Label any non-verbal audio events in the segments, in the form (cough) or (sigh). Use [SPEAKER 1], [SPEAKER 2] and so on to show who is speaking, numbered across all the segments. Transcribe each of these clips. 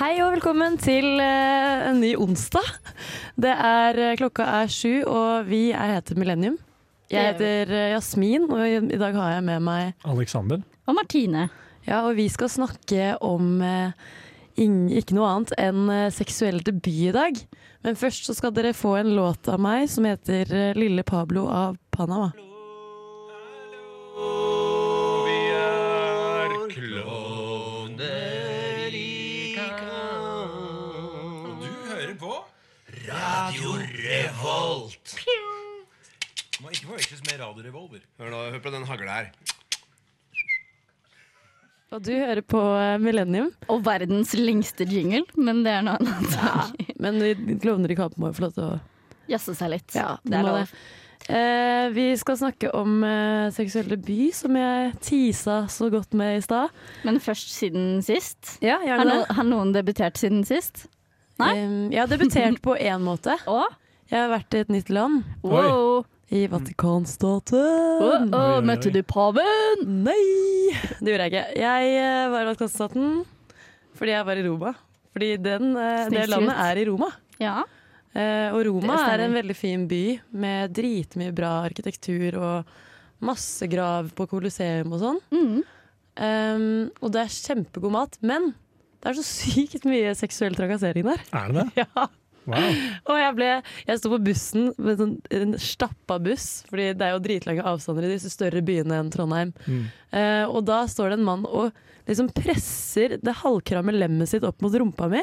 [SPEAKER 1] Hei og velkommen til eh, en ny onsdag. Det er, eh, klokka er sju, og vi er, heter Millennium. Jeg
[SPEAKER 2] Det
[SPEAKER 1] heter eh, Jasmin, og i, i dag har jeg med meg
[SPEAKER 3] Alexander.
[SPEAKER 2] Og Martine.
[SPEAKER 1] Ja, og vi skal snakke om eh, ing, ikke noe annet enn eh, seksuell debut i dag. Men først så skal dere få en låt av meg som heter eh, 'Lille Pablo av Panama'.
[SPEAKER 4] Vi er klovner i kamp. Og du hører på Radio Revolt. Du må ikke forveksles med Radio Revolver. Hør, nå, hør på den hagla her.
[SPEAKER 1] Og du hører på eh, Millennium,
[SPEAKER 2] Og verdens lengste jingle, men det er noe annet. Ja.
[SPEAKER 1] men vi klovner i kampen må jo få lov til å
[SPEAKER 2] Jazze seg litt.
[SPEAKER 1] det er lov. Eh, vi skal snakke om eh, seksuell debut, som jeg tisa så godt med i stad.
[SPEAKER 2] Men først siden sist.
[SPEAKER 1] Ja,
[SPEAKER 2] Har, no, har noen debutert siden sist? Nei?
[SPEAKER 1] jeg har debutert på én måte.
[SPEAKER 2] Å?
[SPEAKER 1] Jeg har vært i et nytt land.
[SPEAKER 2] Wow.
[SPEAKER 1] I
[SPEAKER 2] Å,
[SPEAKER 1] Vatikanstaten.
[SPEAKER 2] å,
[SPEAKER 3] Oi, oi,
[SPEAKER 2] møtte
[SPEAKER 3] oi.
[SPEAKER 2] du paven?
[SPEAKER 1] Nei! Det gjorde jeg ikke. Jeg eh, var i Vatikanstaten fordi jeg var i Roma. Fordi den, eh, det
[SPEAKER 2] Snikskryt.
[SPEAKER 1] landet er i Roma.
[SPEAKER 2] Ja.
[SPEAKER 1] Eh, og Roma
[SPEAKER 2] Det stemmer.
[SPEAKER 1] er en veldig fin by med dritmye bra arkitektur og masse grav på Colosseum og sånn.
[SPEAKER 2] Mm.
[SPEAKER 1] Um, og det er kjempegod mat, men det er så (laughs) sykt mye seksuell trakassering der.
[SPEAKER 3] Er det det?
[SPEAKER 1] (laughs) Ja.
[SPEAKER 3] Wow.
[SPEAKER 1] Og jeg ble Jeg sto på bussen med sånn, en stappa buss, Fordi det er jo dritlange avstander i disse større byene enn Trondheim.
[SPEAKER 3] Mm.
[SPEAKER 1] Eh, og da står det en mann og liksom presser det halvkramme lemmet sitt opp mot rumpa mi.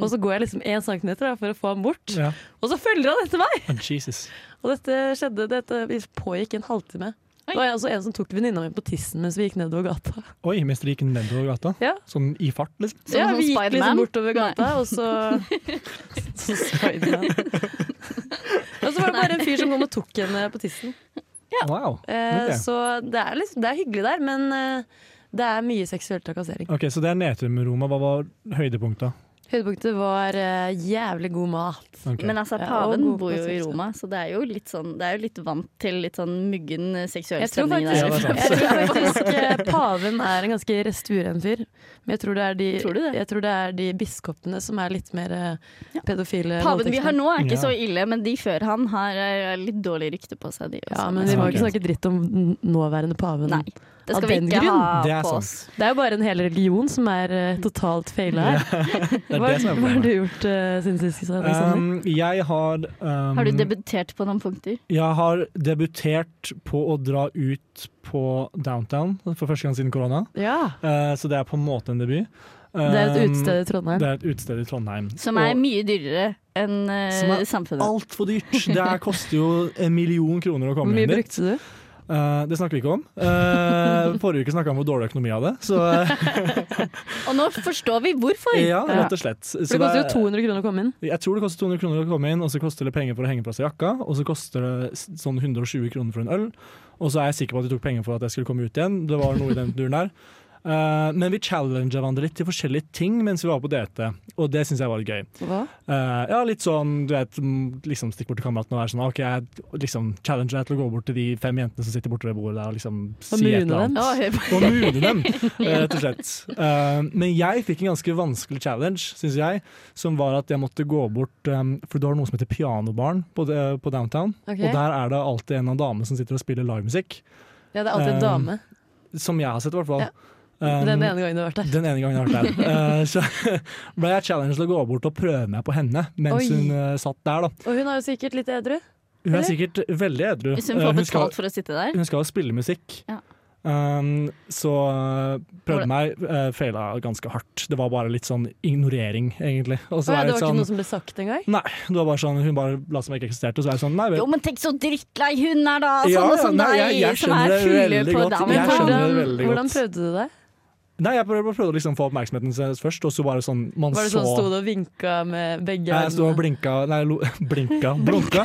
[SPEAKER 1] Og så går jeg liksom én centimeter da, for å få ham bort,
[SPEAKER 3] (laughs) Ja.
[SPEAKER 1] og så følger han etter meg!
[SPEAKER 3] Men Jesus.
[SPEAKER 1] Og dette skjedde, dette pågikk en halvtime.
[SPEAKER 2] Oi.
[SPEAKER 1] Det var altså en som tok venninna mi på tissen mens vi gikk nedover gata.
[SPEAKER 3] Oi, mens dere gikk nedover gata?
[SPEAKER 1] Ja.
[SPEAKER 3] Sånn i fart, liksom?
[SPEAKER 2] Som
[SPEAKER 1] ja,
[SPEAKER 2] sånn
[SPEAKER 1] vi gikk
[SPEAKER 2] Spiderman?
[SPEAKER 1] liksom bortover gata,
[SPEAKER 2] Nei.
[SPEAKER 1] og så
[SPEAKER 2] (laughs)
[SPEAKER 1] Så Spiderman. (laughs) og så var det bare en fyr som kom og tok henne på tissen.
[SPEAKER 3] Wow.
[SPEAKER 1] Eh,
[SPEAKER 3] Ok.
[SPEAKER 1] Så det er, liksom, det er hyggelig der, men eh, det er mye seksuell trakassering.
[SPEAKER 3] Ok, Så det er nedtur med Roma. Hva var høydepunktet?
[SPEAKER 1] Høydepunktet var eh, jævlig god mat.
[SPEAKER 3] Ok.
[SPEAKER 2] Men altså,
[SPEAKER 1] Ja,
[SPEAKER 2] paven
[SPEAKER 1] og god
[SPEAKER 2] bor jo i
[SPEAKER 1] konsert.
[SPEAKER 2] Roma, så det er jo litt sånn Det er jo litt vant til litt sånn muggen eh, seksuell
[SPEAKER 1] Jeg tror
[SPEAKER 2] stemning
[SPEAKER 1] faktisk,
[SPEAKER 2] der.
[SPEAKER 3] Ja, det er
[SPEAKER 1] jeg tror faktisk eh, paven er en ganske resturen fyr. Men jeg tror det er de,
[SPEAKER 2] Tror du det?
[SPEAKER 1] jeg tror det er de biskopene som er litt mer eh,
[SPEAKER 2] Ja.
[SPEAKER 1] pedofile.
[SPEAKER 2] Paven vi har nå er ikke
[SPEAKER 3] Ja.
[SPEAKER 2] så ille, men de før han har eh, litt dårlig rykte på seg. De også.
[SPEAKER 1] Ja, men vi må
[SPEAKER 3] Ja,
[SPEAKER 1] ikke
[SPEAKER 3] ok.
[SPEAKER 1] snakke dritt om den nåværende paven.
[SPEAKER 2] Nei, det
[SPEAKER 1] Av
[SPEAKER 2] skal vi
[SPEAKER 1] den
[SPEAKER 2] ikke
[SPEAKER 1] grunn.
[SPEAKER 3] Det
[SPEAKER 2] ha
[SPEAKER 3] er
[SPEAKER 2] på
[SPEAKER 3] sant.
[SPEAKER 2] oss.
[SPEAKER 1] Det er jo bare en hel religion som er eh, totalt feila her.
[SPEAKER 3] Det er
[SPEAKER 1] Hva,
[SPEAKER 3] det som er
[SPEAKER 1] hva har du
[SPEAKER 3] problemet.
[SPEAKER 1] gjort eh, siden sist? Alexander?
[SPEAKER 3] Um, jeg har um,
[SPEAKER 2] Har du debutert på noen punkter?
[SPEAKER 3] Jeg har debutert på å dra ut på downtown for første gang siden korona.
[SPEAKER 1] ja.
[SPEAKER 3] Eh, så det er på en måte en debut.
[SPEAKER 1] Det er et
[SPEAKER 3] Um,
[SPEAKER 1] utested i Trondheim.
[SPEAKER 3] Det er et utested i Trondheim.
[SPEAKER 2] Som er
[SPEAKER 3] Og
[SPEAKER 2] mye dyrere enn eh,
[SPEAKER 3] Som er
[SPEAKER 2] samfunnet.
[SPEAKER 3] altfor dyrt! Det er- koster jo en million kroner å
[SPEAKER 1] Hvor
[SPEAKER 3] komme
[SPEAKER 1] mye
[SPEAKER 3] inn dit.
[SPEAKER 1] brukte du?
[SPEAKER 3] Eh, det snakker vi ikke om.
[SPEAKER 1] (laughs)
[SPEAKER 3] Eh, forrige uke snakka vi om hvor dårlig økonomi jeg hadde. Så eh,
[SPEAKER 2] Og nå forstår vi hvorfor!
[SPEAKER 3] ja, rett og slett. Så
[SPEAKER 1] For det koster jo
[SPEAKER 3] er-
[SPEAKER 1] 200 kroner å komme inn.
[SPEAKER 3] Jeg tror det koster 200 kroner å komme inn, og så koster det penger for å henge på seg jakka, og så koster det s- sånn 120 kroner for en øl. Og så er jeg sikker på at de tok penger for at jeg skulle komme ut igjen. Det var noe i den duren
[SPEAKER 1] (laughs)
[SPEAKER 3] der. Eh, men vi challenged hverandre litt til forskjellige ting mens vi var på DT, og det syns jeg var litt gøy.
[SPEAKER 1] Hva?
[SPEAKER 3] Eh, ja, litt sånn, du vet, mm, liksom stikk bort til kameraten og være sånn OK, jeg liksom challenger deg til å gå bort til de fem jentene som sitter borte ved bordet der og liksom si et
[SPEAKER 1] mune
[SPEAKER 3] eller annet.
[SPEAKER 2] Å, hør på.
[SPEAKER 3] Og mune dem, eh, rett og slett. Eh, men jeg fikk en ganske vanskelig challenge, syns jeg, som var at jeg måtte gå bort eh, For du har noe som heter pianobaren på, det- på downtown,
[SPEAKER 1] Ok.
[SPEAKER 3] og der er det alltid en av damene som sitter og spiller livemusikk.
[SPEAKER 1] Ja, det er alltid en
[SPEAKER 3] Um,
[SPEAKER 1] dame.
[SPEAKER 3] Som jeg har sett, i hvert fall.
[SPEAKER 1] Ja.
[SPEAKER 3] Eh,
[SPEAKER 1] Den ene gangen du har vært der.
[SPEAKER 3] den ene gangen jeg har vært der. Eh, så (laughs) ble jeg challenged til å gå bort og prøve meg på henne mens
[SPEAKER 1] Oi.
[SPEAKER 3] hun eh, satt der, da.
[SPEAKER 1] Og hun er jo sikkert litt edru.
[SPEAKER 3] Hun er
[SPEAKER 1] Eller?
[SPEAKER 3] sikkert veldig edru.
[SPEAKER 2] Hvis hun
[SPEAKER 3] Eh,
[SPEAKER 2] får
[SPEAKER 3] skal,
[SPEAKER 2] betalt for å sitte der.
[SPEAKER 3] hun skal jo spille musikk.
[SPEAKER 2] Ja.
[SPEAKER 3] Um, så eh,
[SPEAKER 2] Hvordan-
[SPEAKER 3] prøvde meg, uh, feila ganske hardt. Det var bare litt sånn ignorering, egentlig. Og
[SPEAKER 1] Å
[SPEAKER 3] så
[SPEAKER 1] ja,
[SPEAKER 3] er
[SPEAKER 1] det var
[SPEAKER 3] det
[SPEAKER 1] ikke
[SPEAKER 3] sånn,
[SPEAKER 1] noe som ble sagt engang.
[SPEAKER 3] Nei, det var bare sånn, hun bare la som jeg ikke eksisterte, og så er det sånn Nei
[SPEAKER 2] Jo,
[SPEAKER 3] vel.
[SPEAKER 2] men tenk så drittlei hun er, da! Sånne
[SPEAKER 3] Ja, ja,
[SPEAKER 2] som
[SPEAKER 3] nei,
[SPEAKER 2] deg,
[SPEAKER 3] jeg- jeg
[SPEAKER 2] som er
[SPEAKER 3] skjønner
[SPEAKER 2] fulle
[SPEAKER 3] det veldig
[SPEAKER 2] på
[SPEAKER 3] godt.
[SPEAKER 1] Men
[SPEAKER 3] Jeg
[SPEAKER 2] downtown.
[SPEAKER 3] skjønner
[SPEAKER 1] hvordan,
[SPEAKER 3] det veldig godt.
[SPEAKER 1] hvordan prøvde du deg?
[SPEAKER 3] Nei, jeg prøvde, prøvde å liksom få oppmerksomheten hennes først, og så bare sånn Man
[SPEAKER 1] Var det
[SPEAKER 3] så
[SPEAKER 1] sånn sto du og vinka med begge
[SPEAKER 3] Nei, Jeg sto og
[SPEAKER 1] hendene?
[SPEAKER 3] blinka Nei, lo, (laughs) blinka.
[SPEAKER 1] (laughs)
[SPEAKER 3] Blunka.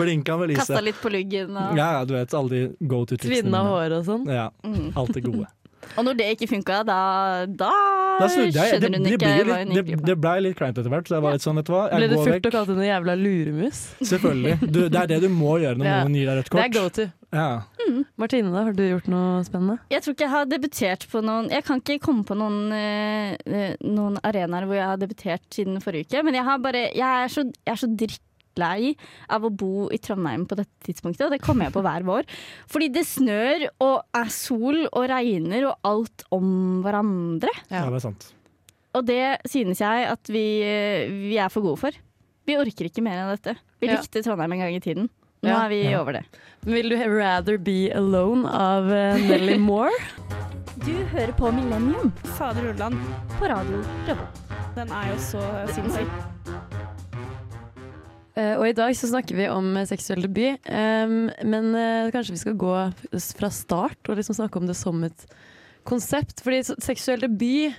[SPEAKER 3] blinka med
[SPEAKER 2] Kasta
[SPEAKER 3] lyset.
[SPEAKER 2] litt på luggen og
[SPEAKER 3] Ja, ja, du vet alle de go to tricksene.
[SPEAKER 1] Tvinna håret og sånn?
[SPEAKER 3] Ja,
[SPEAKER 2] mm.
[SPEAKER 3] alt det gode.
[SPEAKER 2] Og når det ikke funka, da, da,
[SPEAKER 3] Da snudde jeg. Det,
[SPEAKER 2] skjønner hun
[SPEAKER 3] det,
[SPEAKER 2] ikke
[SPEAKER 3] ble
[SPEAKER 2] hva
[SPEAKER 3] litt,
[SPEAKER 2] hun
[SPEAKER 3] det,
[SPEAKER 2] gikk glipp av.
[SPEAKER 3] det ble litt kleint etter hvert, så jeg var litt sånn, vet du hva.
[SPEAKER 1] Ble du
[SPEAKER 3] Jeg går
[SPEAKER 1] furt og
[SPEAKER 3] vekk.
[SPEAKER 1] kalte henne jævla luremus?
[SPEAKER 3] Selvfølgelig. Du, det er det du må gjøre når
[SPEAKER 1] Ja.
[SPEAKER 3] noen gir deg rødt
[SPEAKER 1] Det er
[SPEAKER 3] kort.
[SPEAKER 1] go to.
[SPEAKER 3] Ja.
[SPEAKER 1] Martine, da, har du gjort noe spennende?
[SPEAKER 2] Jeg tror ikke jeg har debutert på noen Jeg kan ikke komme på noen, eh, eh, noen arenaer hvor jeg har debutert siden forrige uke, men jeg, har bare, jeg, er, så, jeg er så drittlei av å bo i Trondheim på dette tidspunktet, og det kommer jeg på hver vår. Fordi det snør og er sol og regner og alt om hverandre.
[SPEAKER 3] ja, det er sant.
[SPEAKER 2] Og det synes jeg at vi, eh, vi er for gode for. Vi orker ikke mer enn dette. Vi
[SPEAKER 1] Ja.
[SPEAKER 2] likte Trondheim en gang i tiden. Nå
[SPEAKER 1] Ja.
[SPEAKER 2] er vi
[SPEAKER 3] Ja.
[SPEAKER 2] over det.
[SPEAKER 1] Vil du rather be alone av eh, (laughs) Nelly Moore?
[SPEAKER 2] Du hører på Millennium
[SPEAKER 5] Fader Ulland,
[SPEAKER 2] på radio. Revolt.
[SPEAKER 5] den er jo så sinnssyk.
[SPEAKER 1] Eh, og i dag så snakker vi om eh, seksuell debut, Em, men eh, kanskje vi skal gå s- fra start og liksom snakke om det som et konsept. Fordi s- seksuell debut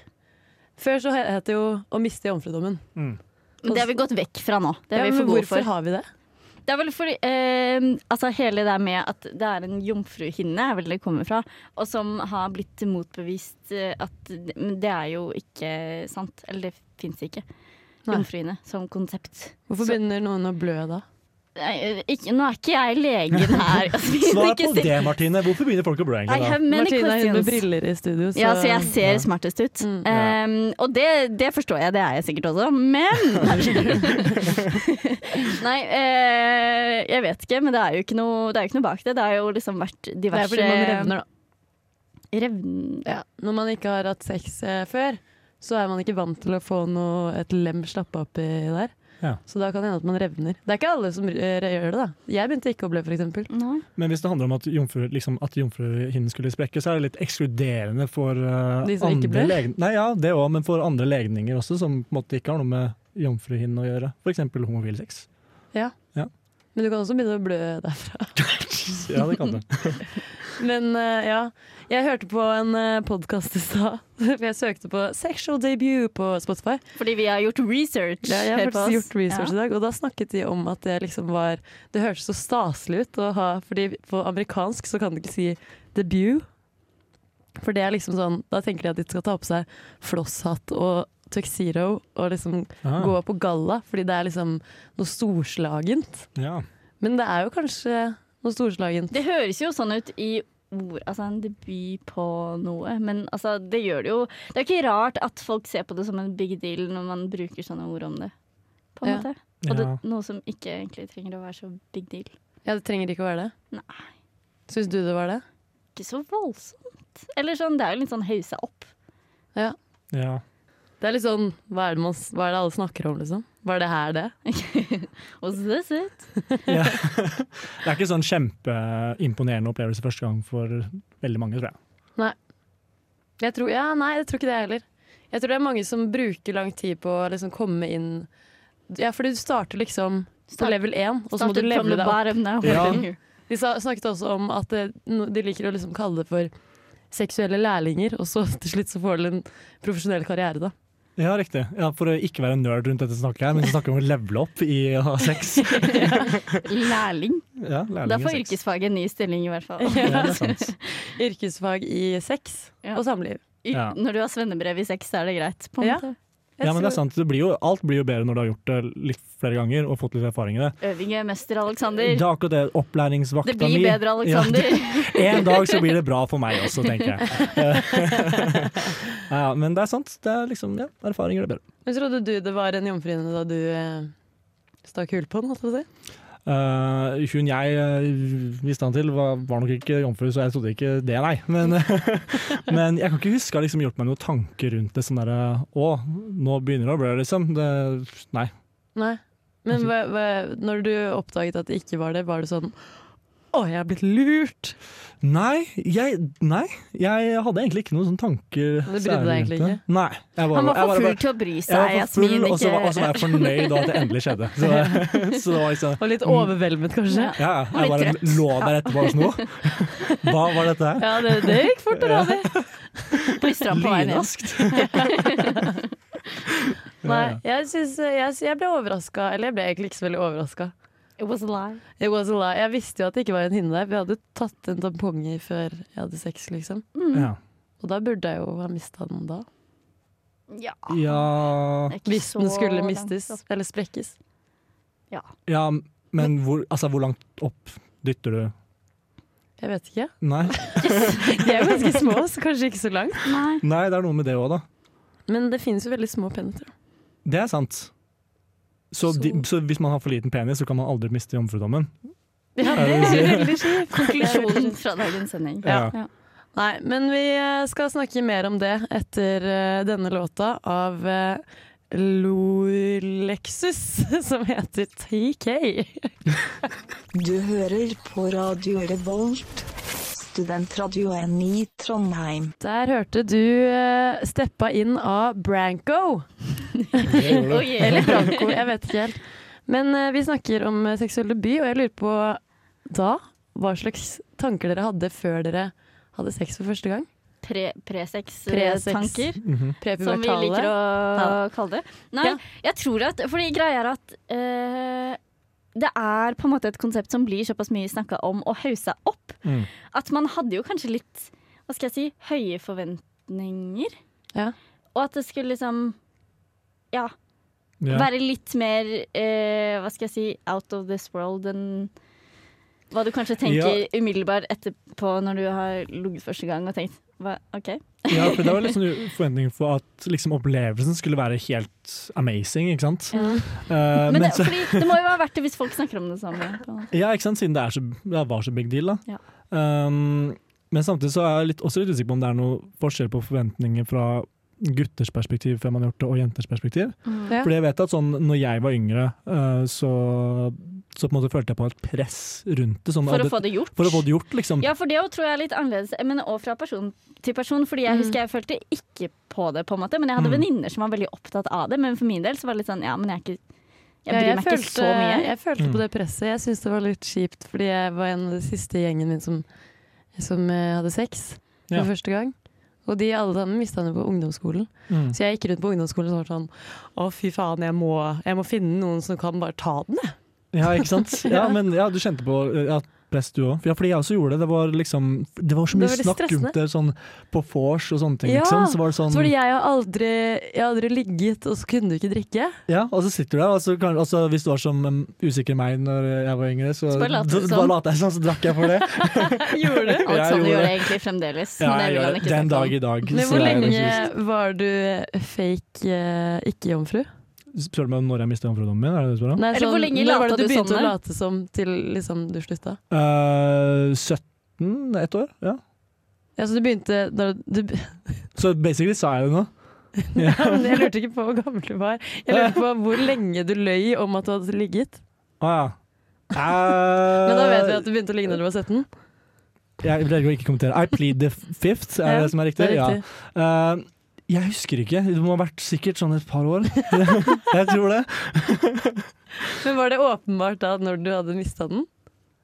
[SPEAKER 1] Før så he- het det jo å miste jomfrudommen.
[SPEAKER 3] Mm.
[SPEAKER 2] Men det har vi gått vekk fra nå. Det
[SPEAKER 1] Ja,
[SPEAKER 2] er vi
[SPEAKER 1] men
[SPEAKER 2] for gode
[SPEAKER 1] hvorfor
[SPEAKER 2] for.
[SPEAKER 1] har vi det?
[SPEAKER 2] Det er vel fordi eh, altså Hele det der med at det er en jomfruhinne, er vel det kommer fra, og som har blitt motbevist eh, at det- Men det er jo ikke sant. Eller det fins ikke.
[SPEAKER 1] Nei.
[SPEAKER 2] Jomfruhinne som konsept.
[SPEAKER 1] Hvorfor
[SPEAKER 2] Så-
[SPEAKER 1] begynner noen å blø da?
[SPEAKER 2] Nei, eh, ikke, nå er ikke jeg legen (laughs) her. Altså, vi må
[SPEAKER 3] Svar
[SPEAKER 2] ikke
[SPEAKER 3] på
[SPEAKER 2] si-
[SPEAKER 3] det, Martine. Hvorfor begynner folk å blø
[SPEAKER 2] I
[SPEAKER 3] egentlig? da?
[SPEAKER 2] have many
[SPEAKER 1] Martine er hun med
[SPEAKER 2] questions.
[SPEAKER 1] briller i studio, så,
[SPEAKER 2] Ja, så jeg ser
[SPEAKER 3] Ja.
[SPEAKER 2] smartest ut.
[SPEAKER 1] Mm.
[SPEAKER 3] Ja.
[SPEAKER 2] Um, og det, det forstår jeg, det er jeg sikkert også, (laughs) men Nei, eh, jeg vet ikke, men det er jo ikke noe, det er jo ikke noe bak det. Det har jo liksom vært
[SPEAKER 1] Det er
[SPEAKER 2] diverse
[SPEAKER 1] fordi man revner, da.
[SPEAKER 2] Revn-
[SPEAKER 1] Ja. Når man ikke har hatt sex eh, før, så er man ikke vant til å få noe, et lem slappa oppi der.
[SPEAKER 3] Ja.
[SPEAKER 1] Så da kan det hende at man revner. Det er ikke alle som eh, gjør det, da. Jeg begynte ikke å blø, f.eks.
[SPEAKER 2] Nei.
[SPEAKER 3] Men hvis det handler om at, jomfru, liksom, at jomfruhinnen skulle sprekke, så er det litt ekskluderende for eh,
[SPEAKER 1] De som ikke
[SPEAKER 3] andre
[SPEAKER 1] ble?
[SPEAKER 3] legninger. Nei, ja, det også, men for andre legninger også, som på en måte ikke har noe med jomfruhinnen å gjøre. F.eks. homofil sex.
[SPEAKER 1] Men du kan også begynne å blø derfra.
[SPEAKER 3] Ja, det kan du.
[SPEAKER 1] (laughs) Men eh, ja, jeg hørte på en uh, podkast i stad. (laughs) For jeg søkte på 'sexual debut' på Spotify.
[SPEAKER 2] Fordi vi har gjort research.
[SPEAKER 1] Ja, jeg har
[SPEAKER 2] Hør på
[SPEAKER 1] faktisk
[SPEAKER 2] oss.
[SPEAKER 1] gjort research i dag, og da snakket de om at det liksom var Det hørtes så staselig ut å ha Fordi på amerikansk så kan du ikke si debut. For det er liksom sånn Da tenker de at de skal ta på seg flosshatt og tuxedo og liksom
[SPEAKER 3] Ah,
[SPEAKER 1] (laughs) gå på galla, fordi det er liksom noe storslagent.
[SPEAKER 3] Ah, ja.
[SPEAKER 1] Men det er jo kanskje noe storslagent.
[SPEAKER 2] Det høres jo sånn ut i ord, altså en debut på noe, men altså, det gjør det jo Det er ikke rart at folk ser på det som en big deal når man bruker sånne ord om det. På en
[SPEAKER 1] Ja.
[SPEAKER 2] måte. Og det,
[SPEAKER 3] ja.
[SPEAKER 2] noe som ikke egentlig trenger å være så big deal.
[SPEAKER 1] Ja, det trenger ikke å være det.
[SPEAKER 2] Nei,
[SPEAKER 1] Syns du det var det?
[SPEAKER 2] ikke så voldsomt. Eller sånn, det er jo litt sånn hausa opp.
[SPEAKER 3] ja.
[SPEAKER 1] Det er litt sånn Hva er det, man, hva er det alle snakker om, liksom? Var det her det?
[SPEAKER 2] Was this it?
[SPEAKER 3] ja. (laughs) Det er ikke sånn kjempeimponerende opplevelse første gang for veldig mange, tror jeg.
[SPEAKER 1] Jeg tror, ja, nei, jeg tror ikke det heller. Jeg tror det er mange som bruker lang tid på å liksom komme inn Ja, for du starter liksom på
[SPEAKER 2] Start-
[SPEAKER 1] level 1, og så må du
[SPEAKER 2] Started
[SPEAKER 1] levele
[SPEAKER 2] from the
[SPEAKER 1] deg opp.
[SPEAKER 2] bottom now.
[SPEAKER 3] Ja. (laughs)
[SPEAKER 1] De sa, snakket også om at det, no- de liker å liksom kalle det for seksuelle lærlinger, og så (laughs) til slutt så får du en profesjonell karriere, da.
[SPEAKER 3] Ja, riktig. Ja, for å ikke være nerd rundt dette snakket her, men snakke om å levele opp i å ha sex.
[SPEAKER 2] Lærling.
[SPEAKER 3] Ja, lærling
[SPEAKER 2] Da
[SPEAKER 3] i
[SPEAKER 2] får
[SPEAKER 3] sex.
[SPEAKER 2] yrkesfaget en ny stilling, i hvert fall.
[SPEAKER 3] Ja, det er
[SPEAKER 2] (laughs)
[SPEAKER 3] sant.
[SPEAKER 1] Yrkesfag i sex
[SPEAKER 2] Ja.
[SPEAKER 1] og samliv.
[SPEAKER 2] Y-
[SPEAKER 3] Ja.
[SPEAKER 2] Når du har svennebrev i sex, så er det greit. På en
[SPEAKER 1] Ja.
[SPEAKER 2] måte.
[SPEAKER 1] Jeg
[SPEAKER 3] Ja, men det er
[SPEAKER 1] tror-
[SPEAKER 3] sant. Det blir jo, alt blir jo bedre når du har gjort det litt flere ganger og fått litt erfaring i det.
[SPEAKER 2] Øving gjør mester,
[SPEAKER 3] Det
[SPEAKER 2] Aleksander.
[SPEAKER 3] er akkurat det. Opplæringsvakta
[SPEAKER 2] Det blir bedre,
[SPEAKER 3] (laughs)
[SPEAKER 2] Aleksander.
[SPEAKER 3] Ja, en dag så blir det bra for meg også, tenker jeg.
[SPEAKER 2] (laughs)
[SPEAKER 3] (laughs) ja, ja, men det er sant. Det er liksom, ja, erfaring gjør det bedre.
[SPEAKER 1] Men trodde du det var en jomfruhinne da du eh, stakk hull på den, holdt jeg på å si?
[SPEAKER 3] Eh, hun jeg eh, visste han til, var, var nok ikke jomfru, så jeg trodde ikke det, nei. Men, (laughs) men jeg kan ikke huske å ha liksom, gjort meg noen tanker rundt det. Sånn derre Å, nå begynner det å blø, liksom. Det, nei.
[SPEAKER 1] Nei. Men hva, hva, når du oppdaget at det ikke var det, var det sånn Å, jeg er blitt lurt!
[SPEAKER 3] Nei, jeg, nei, jeg hadde egentlig ikke noen sånne tanker.
[SPEAKER 1] Men du brydde deg
[SPEAKER 3] særlig
[SPEAKER 1] egentlig
[SPEAKER 3] rundt det. Nei, jeg var,
[SPEAKER 2] Han var
[SPEAKER 3] jeg
[SPEAKER 2] for
[SPEAKER 3] bare-
[SPEAKER 2] full til å bry
[SPEAKER 3] jeg var
[SPEAKER 2] seg,
[SPEAKER 3] for full,
[SPEAKER 2] Jasmin.
[SPEAKER 3] og så var, og så
[SPEAKER 2] Ikke
[SPEAKER 3] var jeg fornøyd da at det endelig skjedde. Så, (laughs) så det var liksom
[SPEAKER 1] Og litt overveldet, kanskje.
[SPEAKER 3] ja, ja, jeg
[SPEAKER 2] Og
[SPEAKER 3] bare
[SPEAKER 2] litt
[SPEAKER 3] lå der etterpå og slo. (laughs) Hva var dette her?
[SPEAKER 1] Ja, det, det gikk fort og (laughs) radig. (laughs)
[SPEAKER 2] plystra på vei ned.
[SPEAKER 3] Lynraskt.
[SPEAKER 1] Nei, jeg, synes, jeg, jeg ble overraska. Eller jeg ble egentlig ikke så veldig overraska.
[SPEAKER 2] It was a lie.
[SPEAKER 1] It was a lie. Jeg visste jo at det ikke var en hinne der. Vi hadde tatt en tampong i før jeg hadde sex, liksom.
[SPEAKER 3] Ja.
[SPEAKER 1] Og da burde jeg jo ha mista den da.
[SPEAKER 2] Ja.
[SPEAKER 3] Ja,
[SPEAKER 2] det er ikke
[SPEAKER 1] Hvis den
[SPEAKER 2] så
[SPEAKER 1] skulle
[SPEAKER 2] langt
[SPEAKER 1] mistes.
[SPEAKER 2] opp.
[SPEAKER 1] Eller sprekkes.
[SPEAKER 3] ja, men hvor, altså, hvor langt opp dytter du?
[SPEAKER 1] Jeg vet ikke. (laughs)
[SPEAKER 3] Nei.
[SPEAKER 1] De er jo ganske små, så kanskje ikke så langt.
[SPEAKER 2] Nei.
[SPEAKER 3] Nei, det er noe med det òg, da.
[SPEAKER 1] Men det finnes jo veldig små penner.
[SPEAKER 3] Det er sant. Så,
[SPEAKER 1] Så-
[SPEAKER 3] De, så hvis man har for liten penis, så kan man aldri miste jomfrudommen.
[SPEAKER 1] Ja,
[SPEAKER 3] det er
[SPEAKER 1] veldig kjipt. (laughs)
[SPEAKER 2] Konklusjonen fra dagens sending.
[SPEAKER 3] Ja.
[SPEAKER 1] Nei, men vi eh, skal snakke mer om det etter eh, denne låta av eh, Lolexus, (laughs) som heter TK.
[SPEAKER 6] Du hører på Radio Revolt, studentradioen i Trondheim.
[SPEAKER 1] Der hørte du eh, steppa inn av Branko.
[SPEAKER 2] Oh, yeah.
[SPEAKER 1] Eller Branko, jeg vet ikke helt. Men eh, vi snakker om eh, seksuell debut, og jeg lurer på da hva slags tanker dere hadde før dere hadde sex for første gang?
[SPEAKER 2] Pre- Presex-tanker.
[SPEAKER 1] Presex.
[SPEAKER 2] pre tanker
[SPEAKER 3] Mhm.
[SPEAKER 2] Som vi
[SPEAKER 1] Prepubertale.
[SPEAKER 2] liker å
[SPEAKER 1] Ja.
[SPEAKER 2] kalle det. Nei,
[SPEAKER 1] Ja.
[SPEAKER 2] jeg tror at Fordi greia er at eh, det er på en måte et konsept som blir såpass mye snakka om og haussa opp.
[SPEAKER 3] Mm.
[SPEAKER 2] At man hadde jo kanskje litt Hva skal jeg si høye forventninger.
[SPEAKER 1] Ja.
[SPEAKER 2] Og at det skulle liksom Ja,
[SPEAKER 3] Ja.
[SPEAKER 2] være litt mer eh, Hva skal jeg si out of this world enn hva du kanskje tenker umiddelbart etterpå når du har ligget første gang og tenkt hva, OK.
[SPEAKER 3] ja, for det var litt sånn forventning for at liksom, opplevelsen skulle være helt amazing, ikke sant?
[SPEAKER 1] Mm.
[SPEAKER 3] Eh,
[SPEAKER 2] Men
[SPEAKER 3] men
[SPEAKER 2] det,
[SPEAKER 3] så,
[SPEAKER 2] fordi, det må jo være verdt det hvis folk snakker om det
[SPEAKER 3] (laughs)
[SPEAKER 2] samme. på en måte.
[SPEAKER 3] ja, ikke sant? Siden det, er så, det var så big deal, da.
[SPEAKER 2] Ja.
[SPEAKER 3] Um, men samtidig så er jeg litt, også litt usikker på om det er noe forskjell på forventninger fra gutters perspektiv før man har gjort det, og jenters perspektiv.
[SPEAKER 1] Ja.
[SPEAKER 3] Fordi jeg vet at sånn, når jeg var yngre, eh, så, så på en måte følte jeg på et press rundt det. Sånn,
[SPEAKER 2] For å
[SPEAKER 3] at
[SPEAKER 2] få
[SPEAKER 3] det,
[SPEAKER 2] det gjort.
[SPEAKER 3] for å få det gjort, liksom.
[SPEAKER 2] Ja, for det tror jeg er litt annerledes. Men òg fra person til person. Fordi jeg
[SPEAKER 1] Mm.
[SPEAKER 2] husker jeg følte ikke på det, på en måte. Men jeg hadde
[SPEAKER 3] Mm.
[SPEAKER 2] venninner som var veldig opptatt av det. Men for min del så var det litt sånn ja, men jeg er ikke Jeg
[SPEAKER 1] Ja,
[SPEAKER 2] bryr meg ikke så
[SPEAKER 1] (laughs)
[SPEAKER 2] mye.
[SPEAKER 1] Jeg følte
[SPEAKER 3] Mm.
[SPEAKER 1] på det presset. Jeg syntes det var litt kjipt, fordi jeg var en av de siste i gjengen min som, som eh, hadde sex for
[SPEAKER 3] Ja.
[SPEAKER 1] første gang. Og de alle sammen mista han jo på ungdomsskolen.
[SPEAKER 3] Mm.
[SPEAKER 1] Så jeg gikk rundt på ungdomsskolen og var sånn Å, fy faen, jeg må, jeg må finne noen som kan bare ta den, jeg.
[SPEAKER 3] Ja, ikke sant? Ja, men ja, du kjente på eh, ja, press du òg. Ja, fordi jeg også gjorde det. Det var liksom Det var
[SPEAKER 1] Det
[SPEAKER 3] så mye
[SPEAKER 1] var veldig
[SPEAKER 3] snakk rundt det, sånn på vors og sånne ting,
[SPEAKER 1] Ja,
[SPEAKER 3] liksom. Så var det sånn
[SPEAKER 1] Så fordi jeg har aldri, jeg har aldri ligget, og så kunne du ikke drikke.
[SPEAKER 3] Ja, og så sitter du der, og så kan, altså, hvis du var som um, usikker meg når jeg var yngre, så,
[SPEAKER 2] Så bare later
[SPEAKER 3] så,
[SPEAKER 2] du
[SPEAKER 3] så
[SPEAKER 2] sånn.
[SPEAKER 3] bare later jeg sånn, så drakk jeg for
[SPEAKER 1] (laughs)
[SPEAKER 3] det.
[SPEAKER 1] Gjorde
[SPEAKER 2] (laughs)
[SPEAKER 1] du?
[SPEAKER 3] Jeg
[SPEAKER 2] Alexander gjør det
[SPEAKER 3] gjorde det.
[SPEAKER 2] sånn egentlig fremdeles.
[SPEAKER 3] Ja,
[SPEAKER 1] Sånn
[SPEAKER 2] men det vil
[SPEAKER 3] jeg gjør
[SPEAKER 2] han
[SPEAKER 3] det.
[SPEAKER 2] ikke
[SPEAKER 3] Den
[SPEAKER 2] snakke om.
[SPEAKER 3] dag i dag.
[SPEAKER 1] Men
[SPEAKER 3] så
[SPEAKER 1] hvor
[SPEAKER 3] er jeg
[SPEAKER 1] lenge
[SPEAKER 3] rasist.
[SPEAKER 1] var du fake eh, ikke-jomfru?
[SPEAKER 3] Spør du meg om når jeg mista jomfrudommen min? Er det det du spør om?
[SPEAKER 1] Nei,
[SPEAKER 2] Eller hvor lenge
[SPEAKER 1] når var
[SPEAKER 2] lata
[SPEAKER 1] det
[SPEAKER 2] du
[SPEAKER 1] begynte
[SPEAKER 2] sånn,
[SPEAKER 1] å
[SPEAKER 2] da?
[SPEAKER 1] late som til liksom, du slutta?
[SPEAKER 3] Eh, 17? Ett år? Ja.
[SPEAKER 1] Ja, så du begynte da du,
[SPEAKER 3] Så basically sa jeg det nå.
[SPEAKER 1] Jeg lurte ikke på hvor gammel du var. Jeg lurte på hvor lenge du løy om at du hadde ligget.
[SPEAKER 3] Å ja.
[SPEAKER 1] (laughs)
[SPEAKER 3] Eh,
[SPEAKER 1] Men da vet vi at du begynte å ligge når du var 17.
[SPEAKER 3] Jeg velger å ikke kommentere. I plead the fifth, er
[SPEAKER 1] Ja,
[SPEAKER 3] det det som er riktig?
[SPEAKER 1] Det er
[SPEAKER 3] Ja.
[SPEAKER 1] riktig.
[SPEAKER 3] Eh, jeg husker ikke. Det må ha vært sikkert sånn et par år. (laughs) jeg tror det.
[SPEAKER 1] Men var det åpenbart da når du hadde mista den?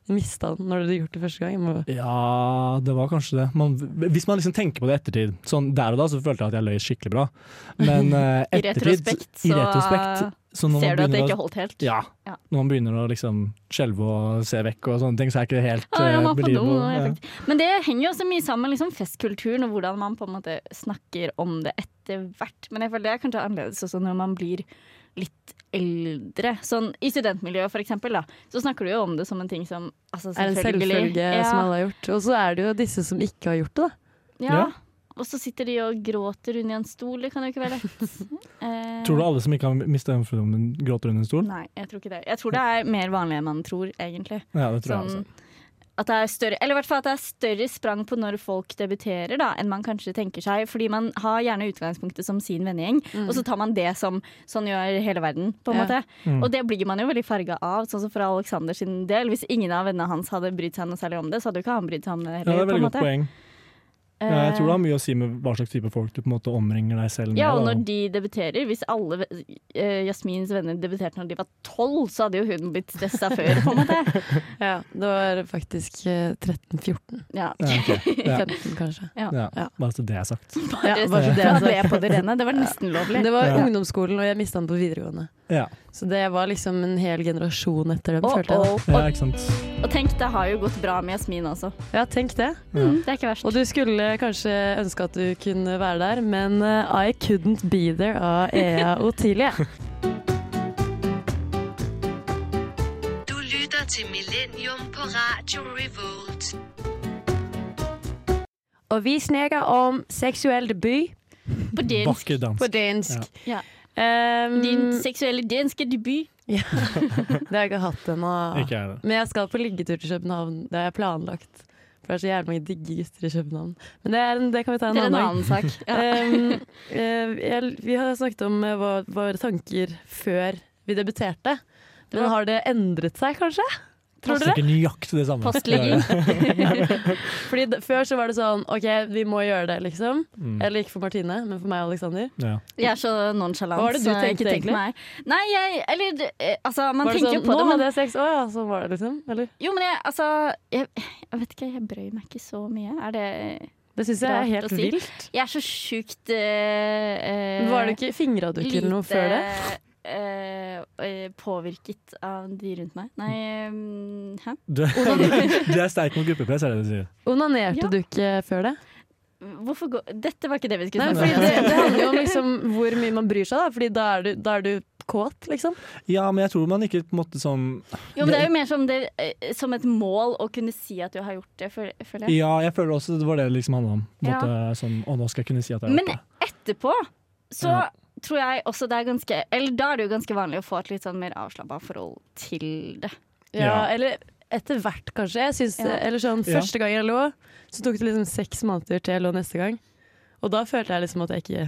[SPEAKER 1] Mista den når du hadde gjort det første gang? Jeg må-
[SPEAKER 3] Ja, det var kanskje det. Man, hvis man liksom tenker på det i ettertid Sånn Der og da så følte jeg at jeg løy skikkelig bra.
[SPEAKER 2] (laughs)
[SPEAKER 3] Men eh,
[SPEAKER 2] I
[SPEAKER 3] ettertid
[SPEAKER 2] retrospekt
[SPEAKER 3] i
[SPEAKER 2] så,
[SPEAKER 3] retrospekt, så når man
[SPEAKER 2] Ser du at det
[SPEAKER 3] begynner
[SPEAKER 2] ikke
[SPEAKER 3] å-
[SPEAKER 2] holdt helt?
[SPEAKER 3] Ja.
[SPEAKER 2] Ja.
[SPEAKER 3] Når man begynner å liksom skjelve og se vekk og sånne ting, så er ikke det helt
[SPEAKER 2] Ah, jeg
[SPEAKER 3] eh,
[SPEAKER 2] må på do,
[SPEAKER 3] believable.
[SPEAKER 2] nå, jeg
[SPEAKER 3] Ja.
[SPEAKER 2] fikk- Men det henger jo også mye sammen med liksom festkulturen og hvordan man på en måte snakker om det etter hvert. Men jeg føler det er kanskje annerledes også når man blir litt eldre. Sånn I studentmiljøet for eksempel, da, så snakker du jo om det som en ting som altså,
[SPEAKER 1] Er en
[SPEAKER 2] selvfølgelig-
[SPEAKER 1] selvfølge
[SPEAKER 2] ja,
[SPEAKER 1] som alle har gjort. Og så er det jo disse som ikke har gjort det, da.
[SPEAKER 2] ja.
[SPEAKER 3] Ja.
[SPEAKER 2] Og så sitter de og gråter under en stol, det kan jo ikke være lett.
[SPEAKER 1] (laughs)
[SPEAKER 2] Eh,
[SPEAKER 3] Tror du alle som ikke har mista jomfrudommen, gråter under en stol?
[SPEAKER 2] Nei, jeg tror ikke det. Jeg tror det er mer vanlig enn man tror, egentlig.
[SPEAKER 3] Ja, det tror jeg
[SPEAKER 2] Sånn,
[SPEAKER 3] også.
[SPEAKER 2] at det er større, eller i hvert fall at det er større sprang på når folk debuterer, da, enn man kanskje tenker seg. Fordi man har gjerne utgangspunktet som sin vennegjeng, og så tar man det som sånn gjør hele verden, på en
[SPEAKER 1] Mm. Ja.
[SPEAKER 2] måte.
[SPEAKER 3] Mm.
[SPEAKER 2] Og det blir man jo veldig farga av, sånn som for Alexander sin del. Hvis ingen av vennene hans hadde brydd seg noe særlig om det, så hadde jo ikke han brydd seg om det
[SPEAKER 3] Ja, det
[SPEAKER 2] heller.
[SPEAKER 3] er et
[SPEAKER 2] på en
[SPEAKER 3] veldig godt
[SPEAKER 2] måte. Eh,
[SPEAKER 3] poeng. Ja, jeg tror det har mye å si med hva slags type folk du på en måte omringer deg selv med.
[SPEAKER 2] Ja, og
[SPEAKER 3] da.
[SPEAKER 2] når de debuterer Hvis alle eh, Jasmins venner debuterte når de var tolv, så hadde jo hun blitt stressa før, på en
[SPEAKER 1] (laughs)
[SPEAKER 2] måte.
[SPEAKER 1] Ja, det var faktisk eh, 13-14.
[SPEAKER 2] Ja.
[SPEAKER 3] ja,
[SPEAKER 2] (laughs)
[SPEAKER 3] ok. ja,
[SPEAKER 1] 15, kanskje.
[SPEAKER 3] ja. Bare så det er sagt.
[SPEAKER 1] Ja, bare
[SPEAKER 2] (laughs)
[SPEAKER 1] så det er
[SPEAKER 2] Ja,
[SPEAKER 1] sagt.
[SPEAKER 2] det er på det rene. Det var nesten lovlig.
[SPEAKER 1] Det var
[SPEAKER 3] Ja.
[SPEAKER 1] ungdomsskolen, og jeg mista den på videregående.
[SPEAKER 3] Ja,
[SPEAKER 1] Så det var liksom en hel generasjon etter dem,
[SPEAKER 2] Oh,
[SPEAKER 1] følte jeg. da.
[SPEAKER 2] oh.
[SPEAKER 3] ja
[SPEAKER 2] Og,
[SPEAKER 3] ikke sant.
[SPEAKER 2] og tenk, det har jo gått bra med Jasmin også.
[SPEAKER 1] Ja, tenk det.
[SPEAKER 2] Mm, det er ikke verst.
[SPEAKER 1] Og du skulle kanskje ønske at du kunne være der, men eh, I couldn't be there av Ea Otilie.
[SPEAKER 7] Du lytter til Millennium på Radio Revolt.
[SPEAKER 1] (laughs) og vi snakker om seksuell debut
[SPEAKER 2] På dansk.
[SPEAKER 3] Vakker dans.
[SPEAKER 1] på dansk.
[SPEAKER 2] Ja.
[SPEAKER 1] Ehm,
[SPEAKER 2] Din seksuelle danske debut.
[SPEAKER 1] (laughs) ja. Det har jeg ikke hatt ennå.
[SPEAKER 3] Ikke jeg det.
[SPEAKER 1] Men jeg skal på liggetur til København. Det har jeg planlagt. For det er så jævlig mange digge gutter i København. Men det, er en, det kan vi ta en
[SPEAKER 2] Det er
[SPEAKER 1] annen
[SPEAKER 2] en
[SPEAKER 1] dag.
[SPEAKER 2] annen
[SPEAKER 1] (laughs)
[SPEAKER 2] sak. Ja.
[SPEAKER 1] Ehm, eh, jeg, vi har snakket om eh, hva, våre tanker før vi debuterte. Men har det endret seg, kanskje? Tror
[SPEAKER 3] Det
[SPEAKER 1] dere?
[SPEAKER 3] er ikke nøyaktig det samme.
[SPEAKER 2] Postlegging.
[SPEAKER 1] Fordi d- Før så var det sånn OK, vi må gjøre det, liksom.
[SPEAKER 3] Mm.
[SPEAKER 1] Eller ikke for Martine, men for meg og Aleksander.
[SPEAKER 3] (laughs) Ja.
[SPEAKER 2] Jeg er så nonchalant.
[SPEAKER 1] Hva var det du
[SPEAKER 2] så jeg
[SPEAKER 1] tenkte
[SPEAKER 2] ikke tenker
[SPEAKER 1] egentlig?
[SPEAKER 2] meg. Nei, jeg Eller eh, altså, man
[SPEAKER 1] Var det
[SPEAKER 2] tenker
[SPEAKER 1] sånn
[SPEAKER 2] på
[SPEAKER 1] Nå
[SPEAKER 2] det, men
[SPEAKER 1] hadde jeg sex, å ja, sånn var det, liksom? Eller?
[SPEAKER 2] Jo, men jeg altså jeg, jeg vet ikke, jeg brøy meg ikke så mye. Er det
[SPEAKER 1] Det syns jeg
[SPEAKER 2] Rart
[SPEAKER 1] er
[SPEAKER 2] å
[SPEAKER 1] helt
[SPEAKER 2] si.
[SPEAKER 1] vilt.
[SPEAKER 2] Jeg er så sjukt eh, eh,
[SPEAKER 1] Var det ikke Fingra du ikke eller noe før det?
[SPEAKER 2] eh, eh, påvirket av de rundt meg. Nei, eh, hæ?
[SPEAKER 3] Du, du er sterk mot gruppepress, er det du sier.
[SPEAKER 1] Onanerte
[SPEAKER 2] Ja.
[SPEAKER 1] du ikke før det?
[SPEAKER 2] Hvorfor går Dette var ikke det vi skulle
[SPEAKER 1] Nei, fordi
[SPEAKER 2] snakke om.
[SPEAKER 1] det, det handler jo om liksom hvor mye man bryr seg, da. Fordi da er du, da er du kåt, liksom.
[SPEAKER 3] Ja, men jeg tror man ikke på en måte sånn
[SPEAKER 2] Jo, men det er jo mer som, det, eh, som et mål å kunne si at du har gjort det, føl- føler jeg.
[SPEAKER 3] Ja, jeg føler også det var det det liksom handla om. På en
[SPEAKER 2] Ja.
[SPEAKER 3] måte, sånn, å, nå skal jeg kunne si at jeg har
[SPEAKER 2] Men
[SPEAKER 3] gjort det.
[SPEAKER 2] etterpå så
[SPEAKER 3] Ja.
[SPEAKER 2] tror jeg også det er ganske Eller da er det jo ganske vanlig å få et litt sånn mer avslappa forhold til det.
[SPEAKER 1] Ja,
[SPEAKER 3] Ja.
[SPEAKER 1] eller etter hvert, kanskje. Jeg synes,
[SPEAKER 2] Ja.
[SPEAKER 1] Eller sånn,
[SPEAKER 3] Ja.
[SPEAKER 1] Første gang jeg lå, så tok det liksom seks måneder til jeg lå neste gang. Og da følte jeg liksom at jeg ikke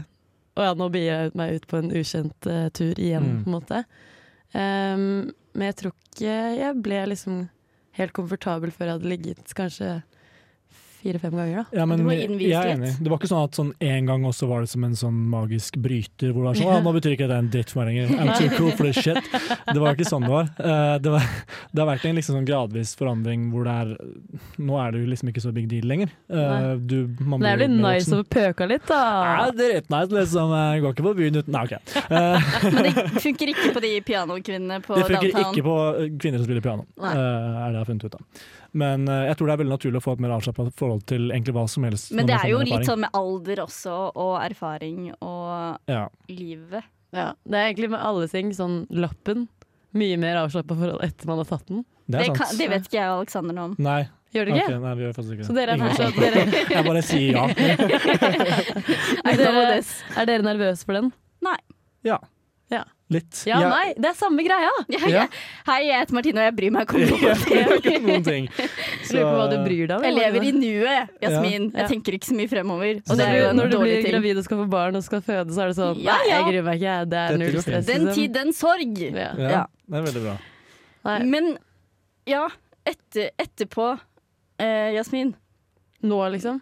[SPEAKER 1] Å ja, nå begir jeg ut- meg ut på en ukjent eh, tur igjen,
[SPEAKER 3] Mm.
[SPEAKER 1] på en måte. Ehm, men jeg tror ikke jeg ble liksom helt komfortabel før jeg hadde ligget kanskje fire-fem ganger, da.
[SPEAKER 3] Ja, men
[SPEAKER 2] Du må
[SPEAKER 3] jeg
[SPEAKER 2] innvise
[SPEAKER 3] er
[SPEAKER 2] litt.
[SPEAKER 3] enig. Det var ikke sånn at sånn en gang også var det som en sånn magisk bryter hvor det var sånn Å, nå betyr ikke det en dritt for meg lenger. I'm too cool for this shit. Det var ikke sånn det var. Eh, Det, var, det har vært en liksom sånn gradvis forandring hvor det er Nå er det jo liksom ikke så big deal lenger. Eh,
[SPEAKER 1] Nei.
[SPEAKER 3] Du, man
[SPEAKER 1] Men det er
[SPEAKER 3] blir
[SPEAKER 1] jo
[SPEAKER 3] jo
[SPEAKER 1] litt
[SPEAKER 3] mer
[SPEAKER 1] nice
[SPEAKER 3] voksen.
[SPEAKER 1] å få pøka litt,
[SPEAKER 3] Ja,
[SPEAKER 1] da.
[SPEAKER 3] det er rett nice, liksom. Jeg går ikke på byen uten Nei, OK. Eh,
[SPEAKER 2] Men det funker ikke på de pianokvinnene på
[SPEAKER 3] Det funker
[SPEAKER 2] downtown.
[SPEAKER 3] ikke på kvinner som spiller piano,
[SPEAKER 2] Nei.
[SPEAKER 3] eh, er det jeg har funnet ut av. Men eh, jeg tror det er veldig naturlig å få et mer avslappa forhold til egentlig hva som helst.
[SPEAKER 2] Men
[SPEAKER 3] når
[SPEAKER 2] det er
[SPEAKER 3] man får
[SPEAKER 2] jo
[SPEAKER 3] mer
[SPEAKER 2] litt
[SPEAKER 3] erfaring.
[SPEAKER 2] sånn med alder også, og erfaring og
[SPEAKER 3] ja.
[SPEAKER 2] livet.
[SPEAKER 1] Ja, det er egentlig med alle ting, sånn lappen. Mye mer avslappa forhold etter man har tatt den.
[SPEAKER 3] Det
[SPEAKER 2] Det,
[SPEAKER 3] er sant.
[SPEAKER 2] kan, det vet ikke jeg og Aleksander
[SPEAKER 3] (laughs)
[SPEAKER 2] noe om.
[SPEAKER 3] Nei,
[SPEAKER 1] Gjør det
[SPEAKER 3] ok,
[SPEAKER 1] ikke?
[SPEAKER 3] nei, vi gjør faktisk ikke det.
[SPEAKER 1] Så dere er
[SPEAKER 3] Ingen
[SPEAKER 1] fortsatt
[SPEAKER 3] som-
[SPEAKER 1] dere,
[SPEAKER 3] Jeg bare sier ja.
[SPEAKER 1] Men
[SPEAKER 2] I know
[SPEAKER 1] dere,
[SPEAKER 2] this.
[SPEAKER 1] er dere nervøse for den?
[SPEAKER 3] Ja.
[SPEAKER 1] Ja.
[SPEAKER 3] Litt.
[SPEAKER 1] Ja,
[SPEAKER 3] Jeg-
[SPEAKER 1] nei, det er samme greia!
[SPEAKER 2] Jeg, jeg, hei, jeg heter Martine, og jeg bryr meg ikke om noe.
[SPEAKER 3] (laughs) Jeg gjør ikke noen ting.
[SPEAKER 1] Jeg lurer på hva du bryr deg om.
[SPEAKER 2] Jeg lever i nuet, Jasmin.
[SPEAKER 1] Ja.
[SPEAKER 2] Jeg tenker ikke så mye fremover.
[SPEAKER 1] og
[SPEAKER 2] Og det er jo en
[SPEAKER 1] Når du
[SPEAKER 2] dårlig
[SPEAKER 1] blir
[SPEAKER 2] ting.
[SPEAKER 1] gravid og skal få barn og skal føde, så er det sånn
[SPEAKER 2] Ja,
[SPEAKER 1] Nei,
[SPEAKER 2] ja.
[SPEAKER 1] jeg gruer meg ikke. jeg. Det er
[SPEAKER 3] Dette
[SPEAKER 1] null
[SPEAKER 3] går
[SPEAKER 1] stress.
[SPEAKER 3] fint.
[SPEAKER 2] Den
[SPEAKER 1] liksom.
[SPEAKER 2] tid, den sorg.
[SPEAKER 1] Ja.
[SPEAKER 3] Ja,
[SPEAKER 2] Ja.
[SPEAKER 3] Det er veldig bra.
[SPEAKER 1] Nei,
[SPEAKER 2] Men ja, etter, etterpå, eh, Jasmin.
[SPEAKER 1] nå, liksom?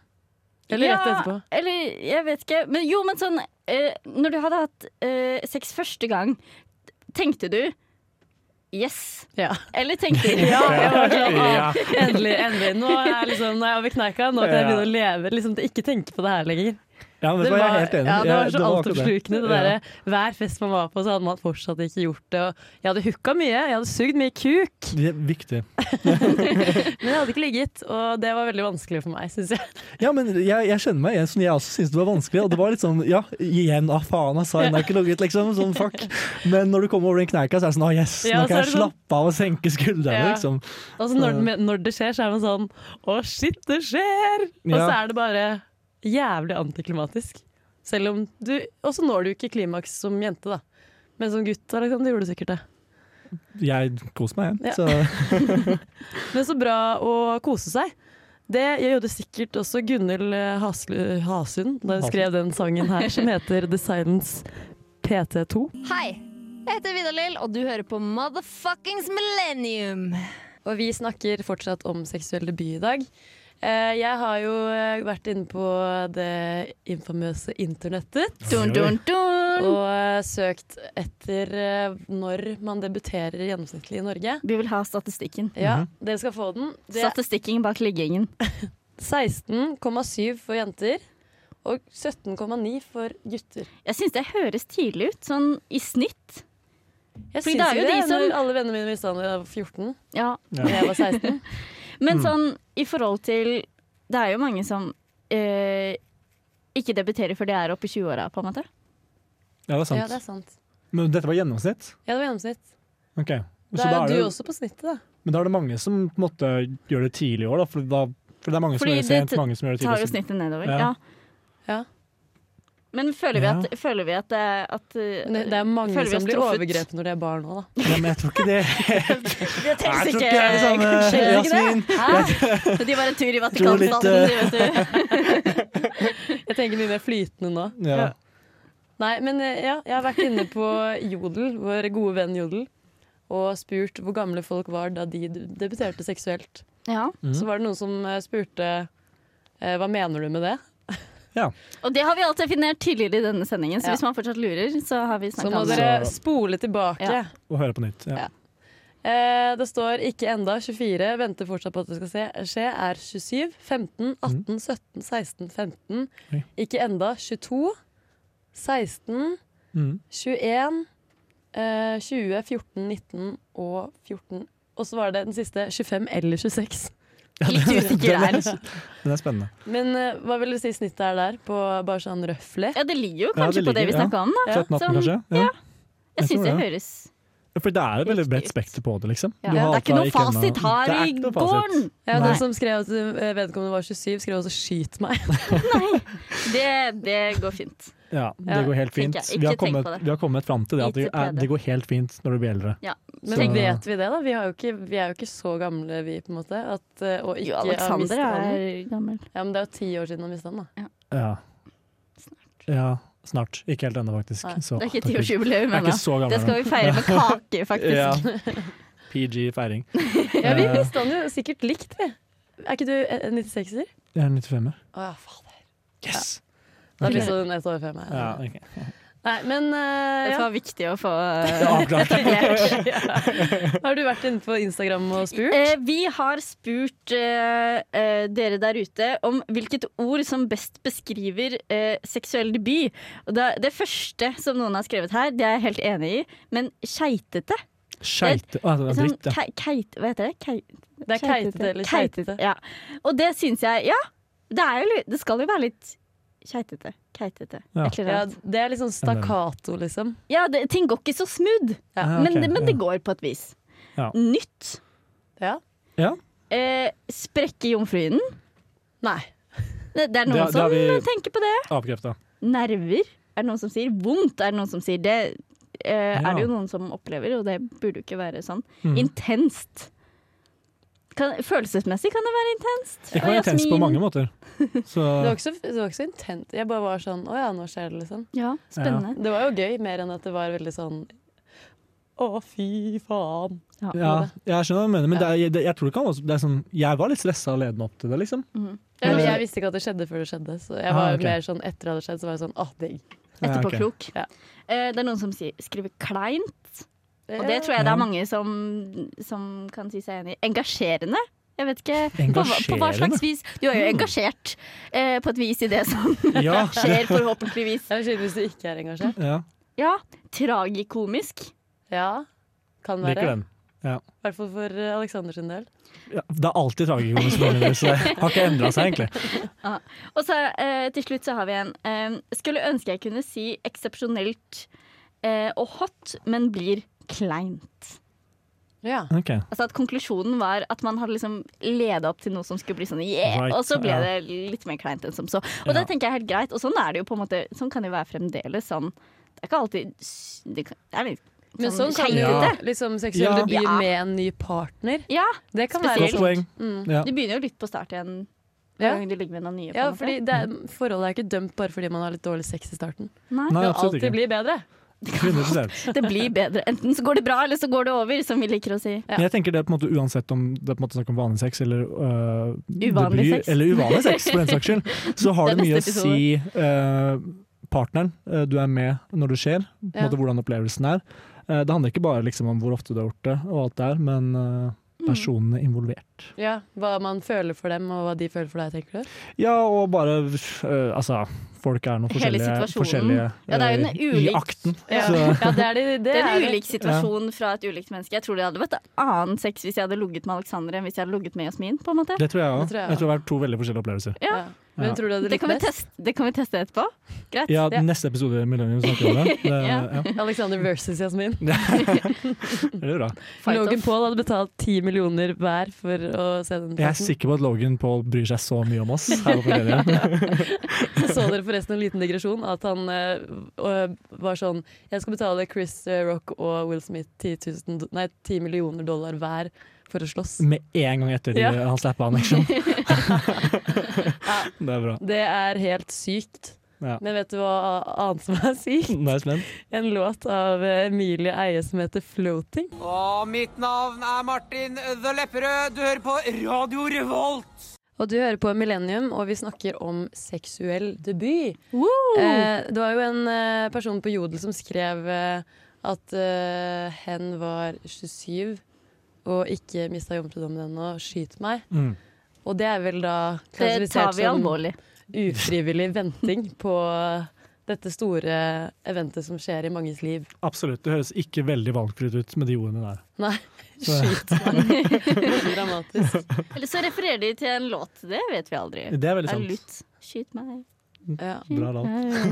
[SPEAKER 1] Eller rett etterpå?
[SPEAKER 2] Ja, eller jeg vet ikke. Men jo, men sånn eh, Når du hadde hatt eh, sex første gang, tenkte du Yes.
[SPEAKER 1] Ja.
[SPEAKER 2] Eller
[SPEAKER 1] (laughs)
[SPEAKER 2] tenkte du
[SPEAKER 1] Ja, jeg var sånn,
[SPEAKER 3] Ja.
[SPEAKER 1] ah, endelig, endelig. Nå er jeg liksom, nå er jeg over kneika. Nå kan jeg begynne å leve. Liksom, til ikke tenke på det her lenger.
[SPEAKER 3] Ja, men det var jeg helt enig i.
[SPEAKER 1] ja, det
[SPEAKER 3] Jeg-
[SPEAKER 1] var så
[SPEAKER 3] akkurat det.
[SPEAKER 1] altoppslukende. Det
[SPEAKER 3] Ja.
[SPEAKER 1] derre hver fest man var på, så hadde man fortsatt ikke gjort det. Og jeg hadde hooka mye. Jeg hadde sugd mye kuk.
[SPEAKER 3] Det er viktig.
[SPEAKER 1] Men jeg hadde ikke ligget, og det var veldig vanskelig for meg, syns jeg.
[SPEAKER 3] Ja, men jeg, jeg skjønner meg igjen, sånn, jeg også syntes det var vanskelig. Og det var litt sånn, ja, igjen, ah faen, altså, jeg har ikke ligget, liksom. Sånn, fuck. Men når du kommer over den kneika, så er det sånn, ah yes,
[SPEAKER 1] Ja,
[SPEAKER 3] nå
[SPEAKER 1] så
[SPEAKER 3] kan
[SPEAKER 1] er
[SPEAKER 3] jeg
[SPEAKER 1] det sånn-
[SPEAKER 3] slappe av og senke skuldrene,
[SPEAKER 1] Ja.
[SPEAKER 3] liksom.
[SPEAKER 1] Altså når, det- når det skjer, så er man sånn Å, shit, det skjer! Og så
[SPEAKER 3] Ja.
[SPEAKER 1] er det bare jævlig antiklimatisk. Selv om du Og så når du ikke klimaks som jente, da. Men som gutt Alexander, gjorde du sikkert det.
[SPEAKER 3] Jeg koser meg,
[SPEAKER 1] Ja.
[SPEAKER 3] jeg. Så
[SPEAKER 1] Men så bra å kose seg. Det gjorde sikkert også Gunhild eh, Haslu- Hasund da hun
[SPEAKER 3] Hasund.
[SPEAKER 1] skrev den sangen her som heter The Silence PT2.
[SPEAKER 7] Hei, jeg heter Vidar-Lill, og du hører på Motherfuckings Millennium.
[SPEAKER 1] Og vi snakker fortsatt om seksuell debut i dag. Eh, Jeg har jo eh, vært inne på det infamøse internettet.
[SPEAKER 2] Dun, dun, dun.
[SPEAKER 1] Og eh, søkt etter eh, når man debuterer gjennomsnittlig i Norge.
[SPEAKER 2] Vi vil ha statistikken.
[SPEAKER 1] Ja, dere skal få den. Det er
[SPEAKER 2] Statistikken bak liggingen.
[SPEAKER 1] 16,7 for jenter og 17,9 for gutter.
[SPEAKER 2] Jeg syns det høres tidlig ut, sånn i snitt.
[SPEAKER 1] Jeg
[SPEAKER 2] Fordi
[SPEAKER 1] syns
[SPEAKER 2] det er
[SPEAKER 1] jo
[SPEAKER 2] jo
[SPEAKER 1] det
[SPEAKER 2] de som-
[SPEAKER 1] når alle vennene mine mista da jeg var 14.
[SPEAKER 2] Ja.
[SPEAKER 1] Da jeg var 16.
[SPEAKER 3] Mm.
[SPEAKER 2] Men sånn i forhold til Det er jo mange som eh, ikke debuterer før de er oppe i 20-åra, på en måte.
[SPEAKER 3] ja, det er
[SPEAKER 1] Ja,
[SPEAKER 3] sant.
[SPEAKER 1] det er sant.
[SPEAKER 3] Men dette var gjennomsnitt?
[SPEAKER 1] Ja, det var gjennomsnitt.
[SPEAKER 3] Ok. Så
[SPEAKER 1] Da er
[SPEAKER 3] da
[SPEAKER 1] jo
[SPEAKER 3] er det,
[SPEAKER 1] du også på snittet, da.
[SPEAKER 3] men da er det mange som på en måte gjør det tidlig i år, da, for da For det er mange som
[SPEAKER 2] Fordi
[SPEAKER 3] gjør det sent,
[SPEAKER 2] det
[SPEAKER 3] mange som gjør det
[SPEAKER 2] Tar jo
[SPEAKER 3] tidlig.
[SPEAKER 2] snittet nedover.
[SPEAKER 3] Ja.
[SPEAKER 2] Ja.
[SPEAKER 1] Ja.
[SPEAKER 2] Men føler vi at, føler vi at, det- at eh,
[SPEAKER 1] Men Det, det er mange
[SPEAKER 2] Føler vi
[SPEAKER 1] som
[SPEAKER 2] oss
[SPEAKER 1] blir
[SPEAKER 2] truffet?
[SPEAKER 1] overgrepet når de er barn òg, da.
[SPEAKER 3] Ja, men jeg tror ikke det
[SPEAKER 2] (laughs) Det
[SPEAKER 3] Jeg
[SPEAKER 2] trengs
[SPEAKER 3] tror
[SPEAKER 2] ikke,
[SPEAKER 3] ikke det er sånn, det samme,
[SPEAKER 2] kanskje gjør det
[SPEAKER 3] Jasmin. (laughs)
[SPEAKER 2] ikke det? Hæ? De var en tur i
[SPEAKER 3] Tror litt, eh,
[SPEAKER 2] Vatikanstaten, de, vet du.
[SPEAKER 1] (laughs) Jeg tenker mye mer flytende nå.
[SPEAKER 3] ja.
[SPEAKER 1] Nei, men eh, ja, jeg har vært inne på Jodel, vår gode venn Jodel, og spurt hvor gamle folk var da de d- debuterte seksuelt.
[SPEAKER 2] Ja.
[SPEAKER 1] Så var det noen som eh, spurte eh, hva mener du med det?
[SPEAKER 2] Og det har vi alt definert tidligere i denne sendingen, så
[SPEAKER 1] Ja.
[SPEAKER 2] hvis man fortsatt lurer, så har vi
[SPEAKER 1] Så
[SPEAKER 2] snakka
[SPEAKER 1] må
[SPEAKER 2] om det.
[SPEAKER 1] dere spole tilbake.
[SPEAKER 2] Ja.
[SPEAKER 3] Og høre på nytt.
[SPEAKER 1] Ja.
[SPEAKER 3] Ja.
[SPEAKER 1] Eh, det står ikke enda 24, venter fortsatt på at det skal se, skje, er 27, 15, 18, 17, 16, 15.
[SPEAKER 3] Mm. Oi.
[SPEAKER 1] Ikke enda 22, 16,
[SPEAKER 3] Mm.
[SPEAKER 1] 21, eh, 20, 14, 19 og 14. Og så var det den siste 25 eller 26.
[SPEAKER 2] Litt usikker der.
[SPEAKER 3] (laughs)
[SPEAKER 1] liksom.
[SPEAKER 3] Den er spennende.
[SPEAKER 1] Men eh, hva vil du si snittet er der, på bare sånn røffelig?
[SPEAKER 2] Ja, det ligger jo
[SPEAKER 3] Ja,
[SPEAKER 2] kanskje
[SPEAKER 3] det
[SPEAKER 2] på det vi
[SPEAKER 3] ligger, ja.
[SPEAKER 2] snakka om, da.
[SPEAKER 3] 17-18,
[SPEAKER 2] som-
[SPEAKER 3] kanskje? Ja.
[SPEAKER 2] Jeg
[SPEAKER 3] Jeg
[SPEAKER 2] syns
[SPEAKER 3] tror
[SPEAKER 2] det
[SPEAKER 3] det.
[SPEAKER 2] høres
[SPEAKER 3] For det er et veldig
[SPEAKER 2] Riktig
[SPEAKER 3] bredt
[SPEAKER 2] ut.
[SPEAKER 3] spekter på det, liksom.
[SPEAKER 2] ja.
[SPEAKER 3] Du
[SPEAKER 2] Det
[SPEAKER 3] har
[SPEAKER 2] er
[SPEAKER 3] alt
[SPEAKER 2] ikke noe
[SPEAKER 3] fra ennå-
[SPEAKER 2] fasit her
[SPEAKER 3] Det er
[SPEAKER 2] i
[SPEAKER 3] ikke noe fasit.
[SPEAKER 2] gården!
[SPEAKER 1] Ja,
[SPEAKER 3] Nei.
[SPEAKER 1] Den som skrev at eh, vedkommende var 27, skrev også 'skyt meg'.
[SPEAKER 2] Det, det går fint.
[SPEAKER 3] Ja,
[SPEAKER 1] Ja,
[SPEAKER 3] det går helt fint.
[SPEAKER 2] tenker jeg.
[SPEAKER 3] Vi har
[SPEAKER 2] Ikke tenk
[SPEAKER 3] kommet,
[SPEAKER 2] på det.
[SPEAKER 3] vi har kommet fram til det at det,
[SPEAKER 2] Ikke
[SPEAKER 3] er,
[SPEAKER 2] prøv det.
[SPEAKER 3] det går helt fint når du blir eldre.
[SPEAKER 2] Ja.
[SPEAKER 1] Men
[SPEAKER 3] Så-
[SPEAKER 1] vet vi det, da? Vi, har jo ikke, vi er jo ikke så gamle, vi, på en måte. At, eh, og ikke
[SPEAKER 2] Jo,
[SPEAKER 1] har mistet
[SPEAKER 2] Alexander
[SPEAKER 1] hånden.
[SPEAKER 2] er gammel.
[SPEAKER 1] Ja, men det er jo ti år siden han mistet den, da.
[SPEAKER 3] Ja.
[SPEAKER 2] Snart.
[SPEAKER 3] ja, snart. Ikke helt ennå, faktisk.
[SPEAKER 1] Nei,
[SPEAKER 3] Så,
[SPEAKER 2] Det er ikke
[SPEAKER 3] takk Gud.
[SPEAKER 2] tiårsjubileum
[SPEAKER 3] Jeg er
[SPEAKER 2] ennå.
[SPEAKER 3] ikke så gammel.
[SPEAKER 2] Det skal vi feire (laughs) med kake, faktisk. (laughs)
[SPEAKER 3] Ja. PG-feiring.
[SPEAKER 1] Ja, vi
[SPEAKER 3] Eh,
[SPEAKER 1] mistet den jo sikkert likt, vi. Er ikke du eh, 96-er?
[SPEAKER 3] Jeg er 95-er.
[SPEAKER 1] Å ja, fader.
[SPEAKER 3] Yes!
[SPEAKER 1] Da
[SPEAKER 3] Ok.
[SPEAKER 1] mistet du den ett år før meg.
[SPEAKER 3] Ja, ok.
[SPEAKER 1] Nei, men eh,
[SPEAKER 2] Det
[SPEAKER 1] ja.
[SPEAKER 2] var viktig å få (laughs) eh,
[SPEAKER 3] Det er avklart.
[SPEAKER 1] (laughs)
[SPEAKER 3] (laughs)
[SPEAKER 1] Har du vært inne på Instagram og spurt?
[SPEAKER 2] Eh, vi har spurt eh, eh, dere der ute om hvilket ord som best beskriver eh, seksuell debut. Og da, det første som noen har skrevet her, det er jeg helt enig i, men keitete.
[SPEAKER 3] Skeite Å, det er
[SPEAKER 2] Sånn,
[SPEAKER 3] dritt, ja.
[SPEAKER 2] kei- keit, hva heter det? Kei-
[SPEAKER 1] Det er keitete eller keitete.
[SPEAKER 2] Ja. Og det syns jeg Ja, det, er jo, litt- det skal jo være litt keitete. Keitete.
[SPEAKER 3] Ja.
[SPEAKER 2] Et eller
[SPEAKER 1] Ja,
[SPEAKER 2] annet.
[SPEAKER 1] det er litt sånn stakkato, liksom.
[SPEAKER 2] Ja, det, ting går ikke så smooth,
[SPEAKER 1] Ja.
[SPEAKER 3] Ah,
[SPEAKER 2] men,
[SPEAKER 3] ok,
[SPEAKER 2] det- men det
[SPEAKER 3] ja.
[SPEAKER 2] går på et vis.
[SPEAKER 3] Ja.
[SPEAKER 2] Nytt.
[SPEAKER 1] Ja.
[SPEAKER 3] Ja,
[SPEAKER 2] Eh, sprekke jomfruhinnen.
[SPEAKER 1] Nei.
[SPEAKER 2] Det, det er
[SPEAKER 3] Det-
[SPEAKER 2] noen
[SPEAKER 3] det har
[SPEAKER 2] som
[SPEAKER 3] vi-
[SPEAKER 2] tenker på det.
[SPEAKER 3] avkrefta.
[SPEAKER 2] Nerver er det noen som sier. Vondt er det noen som sier. Det eh,
[SPEAKER 3] Ja.
[SPEAKER 2] er det jo noen som opplever, og det burde jo ikke være sånn.
[SPEAKER 3] Mhm.
[SPEAKER 2] Intenst. Kan, følelsesmessig kan det være intenst. Og
[SPEAKER 3] Det kan være intenst på
[SPEAKER 2] Jasmin-
[SPEAKER 3] mange måter. Så
[SPEAKER 2] (laughs)
[SPEAKER 1] Det var ikke så, det var ikke så intent. Jeg bare var sånn å ja, nå skjer det, liksom.
[SPEAKER 2] Ja, spennende.
[SPEAKER 1] Det var jo gøy, mer enn at det var veldig sånn å, fy faen.
[SPEAKER 3] ja, jeg skjønner hva du mener, men det er, det, jeg tror det kan også det er sånn, Jeg var litt stressa ledende opp til det, liksom.
[SPEAKER 1] Ja, men jeg visste ikke at det skjedde før det skjedde. Så jeg var
[SPEAKER 3] Ah, ok.
[SPEAKER 1] mer sånn etter det hadde skjedd, så var jeg sånn åh, digg.
[SPEAKER 3] Ja, ok.
[SPEAKER 2] Etterpåklok.
[SPEAKER 1] Ja.
[SPEAKER 2] Eh, det er noen som sier, skriver kleint, og det tror jeg det
[SPEAKER 3] Ja.
[SPEAKER 2] er mange som, som kan si seg enig i. Engasjerende. Jeg vet ikke på, hva- på hva
[SPEAKER 3] Engasjerende? Mm.
[SPEAKER 2] slags vis. Du er jo engasjert eh, på et vis i det som
[SPEAKER 3] (laughs) Ja,
[SPEAKER 2] skjer, forhåpentligvis.
[SPEAKER 1] Det er kjipt hvis du ikke er engasjert.
[SPEAKER 3] ja,
[SPEAKER 2] Ja, tragikomisk.
[SPEAKER 1] Ja, kan være.
[SPEAKER 3] liker den.
[SPEAKER 1] I hvert fall for eh, Alexander sin del.
[SPEAKER 3] Ja, det er alltid tragikomisk, for min del, så det har ikke endra seg, egentlig.
[SPEAKER 2] Og så eh, til slutt så har vi en eh, Skulle ønske jeg kunne si eksepsjonelt eh, og hot, men blir kleint.
[SPEAKER 1] Ja.
[SPEAKER 3] Ok,
[SPEAKER 2] Altså at Konklusjonen var at man hadde liksom leda opp til noe som skulle bli sånn yeah,
[SPEAKER 3] Right,
[SPEAKER 2] og så ble
[SPEAKER 3] ja.
[SPEAKER 2] det litt mer kleint enn som så. Og det
[SPEAKER 3] Ja.
[SPEAKER 2] tenker jeg er helt greit, og sånn er det jo på en måte. Sånn kan det jo være fremdeles. Sånn Det er ikke alltid s- Det kan- det er litt
[SPEAKER 1] Men sånn kan
[SPEAKER 2] skeivt.
[SPEAKER 1] jo
[SPEAKER 3] Ja.
[SPEAKER 1] liksom seksuell
[SPEAKER 3] Ja.
[SPEAKER 1] debut
[SPEAKER 2] Ja.
[SPEAKER 1] med en ny partner.
[SPEAKER 2] Ja,
[SPEAKER 1] Det kan
[SPEAKER 3] Godt
[SPEAKER 1] være
[SPEAKER 2] Spesielt.
[SPEAKER 3] poeng. Ja.
[SPEAKER 2] du begynner jo litt på start igjen hver
[SPEAKER 1] Ja.
[SPEAKER 2] gang du ligger med noen nye. på
[SPEAKER 1] Ja,
[SPEAKER 2] en måte.
[SPEAKER 1] fordi det er, Forholdet er ikke dømt bare fordi man har litt dårlig sex i starten.
[SPEAKER 2] Nei.
[SPEAKER 1] Det
[SPEAKER 3] Nei,
[SPEAKER 1] kan
[SPEAKER 3] absolutt
[SPEAKER 1] alltid
[SPEAKER 3] ikke.
[SPEAKER 1] bli bedre.
[SPEAKER 3] 100%.
[SPEAKER 2] Det blir bedre. Enten så går det bra, eller så går det over, som vi liker å si.
[SPEAKER 3] Men Jeg tenker det er på en måte uansett om det er på en måte snakk om vanlig sex eller øh,
[SPEAKER 2] Uvanlig
[SPEAKER 3] debut,
[SPEAKER 2] sex.
[SPEAKER 3] Eller uvanlig sex, for den saks skyld. Så har
[SPEAKER 2] Det er
[SPEAKER 3] det, mye å
[SPEAKER 2] neste
[SPEAKER 3] si øh, partneren øh, du er med når det skjer, på en
[SPEAKER 1] Ja.
[SPEAKER 3] måte hvordan opplevelsen er. Eh, det handler ikke bare liksom om hvor ofte du har gjort det, og alt det er, men øh,
[SPEAKER 2] Mm.
[SPEAKER 3] personene involvert.
[SPEAKER 1] Ja, Hva man føler for dem, og hva de føler for deg, tenker du?
[SPEAKER 3] Ja, og bare øh, altså Folk er noe
[SPEAKER 2] Hele
[SPEAKER 3] forskjellige,
[SPEAKER 2] situasjonen.
[SPEAKER 3] forskjellige
[SPEAKER 2] Ja, det er jo en
[SPEAKER 3] øh,
[SPEAKER 2] ulik-
[SPEAKER 3] i akten.
[SPEAKER 1] Ja, (laughs)
[SPEAKER 3] Så,
[SPEAKER 1] ja det er de, det,
[SPEAKER 2] Det er en
[SPEAKER 1] det.
[SPEAKER 2] ulik situasjon fra et ulikt menneske. Jeg tror det hadde vært annen sex hvis jeg hadde ligget med Alexander enn hvis jeg hadde ligget med Jasmin. på en måte.
[SPEAKER 3] det tror jeg òg.
[SPEAKER 1] Det tror jeg
[SPEAKER 3] Jeg tror det har vært to veldig forskjellige opplevelser.
[SPEAKER 1] Ja.
[SPEAKER 3] Ja.
[SPEAKER 1] Hvem tror du hadde
[SPEAKER 2] Det
[SPEAKER 1] likt
[SPEAKER 2] kan, vi
[SPEAKER 1] best?
[SPEAKER 2] teste, det kan vi teste etterpå. Greit.
[SPEAKER 3] Ja,
[SPEAKER 1] Ja.
[SPEAKER 3] neste episode Millennium snakker om det. det ja.
[SPEAKER 1] Alexander versus Jasmin.
[SPEAKER 3] det er bra.
[SPEAKER 2] Fight
[SPEAKER 1] Logan
[SPEAKER 2] off.
[SPEAKER 1] Paul hadde betalt ti millioner hver for å se den.
[SPEAKER 3] Jeg er
[SPEAKER 1] fighten.
[SPEAKER 3] sikker på at Logan Paul bryr seg så mye om oss. Her på Millennium.
[SPEAKER 1] Så så dere forresten en liten digresjon, at han eh, øh, var sånn Jeg skal betale Chris eh, Rock og Will Smith 10, 000, do- nei, 10 millioner dollar hver for å slåss.
[SPEAKER 3] Med en gang etter de,
[SPEAKER 1] Ja.
[SPEAKER 3] han slappa han, liksom. det er bra.
[SPEAKER 1] Det er helt sykt.
[SPEAKER 3] Ja.
[SPEAKER 1] Men vet du hva annet som er sykt?
[SPEAKER 3] Nå er jeg spent.
[SPEAKER 1] En låt av eh, Emilie Eie som heter 'Floating'.
[SPEAKER 8] Og mitt navn er Martin The Lepperød. Du hører på Radio Revolt.
[SPEAKER 1] Og du hører på Millennium, og vi snakker om seksuell debut.
[SPEAKER 2] Eh,
[SPEAKER 1] Eh, det var jo en eh, person på Jodel som skrev eh, at eh, hen var 27 og ikke mista jomfrudommen ennå. Skyt meg.
[SPEAKER 3] Mm.
[SPEAKER 1] Og det er vel da
[SPEAKER 2] det tar
[SPEAKER 1] klassifisert
[SPEAKER 2] vi
[SPEAKER 1] som
[SPEAKER 2] alvorlig.
[SPEAKER 1] ufrivillig venting på dette store eventet som skjer i manges liv.
[SPEAKER 3] Absolutt. Det høres ikke veldig valgfritt ut med de ordene der.
[SPEAKER 1] Nei,
[SPEAKER 3] Så-
[SPEAKER 1] skyt meg. (laughs) Veldig dramatisk.
[SPEAKER 2] Eller så refererer de til en låt. Det vet vi aldri.
[SPEAKER 3] Det er veldig
[SPEAKER 2] Er det
[SPEAKER 3] sant.
[SPEAKER 2] lutt? Skyt meg.
[SPEAKER 1] Ja.
[SPEAKER 3] Bra låt.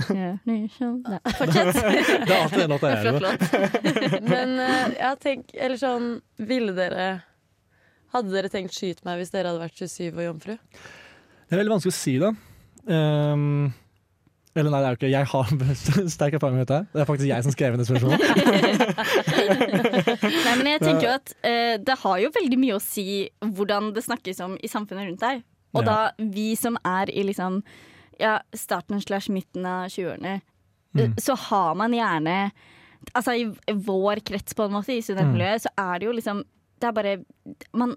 [SPEAKER 3] (laughs)
[SPEAKER 2] Nei, Fortsett.
[SPEAKER 3] Det er alltid en låt jeg
[SPEAKER 2] Flott
[SPEAKER 3] gjør.
[SPEAKER 2] låt.
[SPEAKER 1] Men eh, jeg tenker Eller sånn, ville dere Hadde dere tenkt 'skyt meg' hvis dere hadde vært 27 og jomfru?
[SPEAKER 3] Det er veldig vanskelig å si, da. Ehm, eller nei, det er jo ikke Jeg har (laughs) sterk erfaring med dette. Det er faktisk jeg som skrev inn
[SPEAKER 2] (laughs)
[SPEAKER 3] det spørsmålet.
[SPEAKER 2] Nei, men jeg tenker jo at eh, det har jo veldig mye å si hvordan det snakkes om i samfunnet rundt deg. Og
[SPEAKER 3] Ja.
[SPEAKER 2] da vi som er i liksom ja, starten slash midten av 20-årene, eh,
[SPEAKER 3] Mm.
[SPEAKER 2] så har man gjerne Altså i v- vår krets, på en måte,
[SPEAKER 3] Mm.
[SPEAKER 2] i studentmiljøet, så er det jo liksom Det er bare Man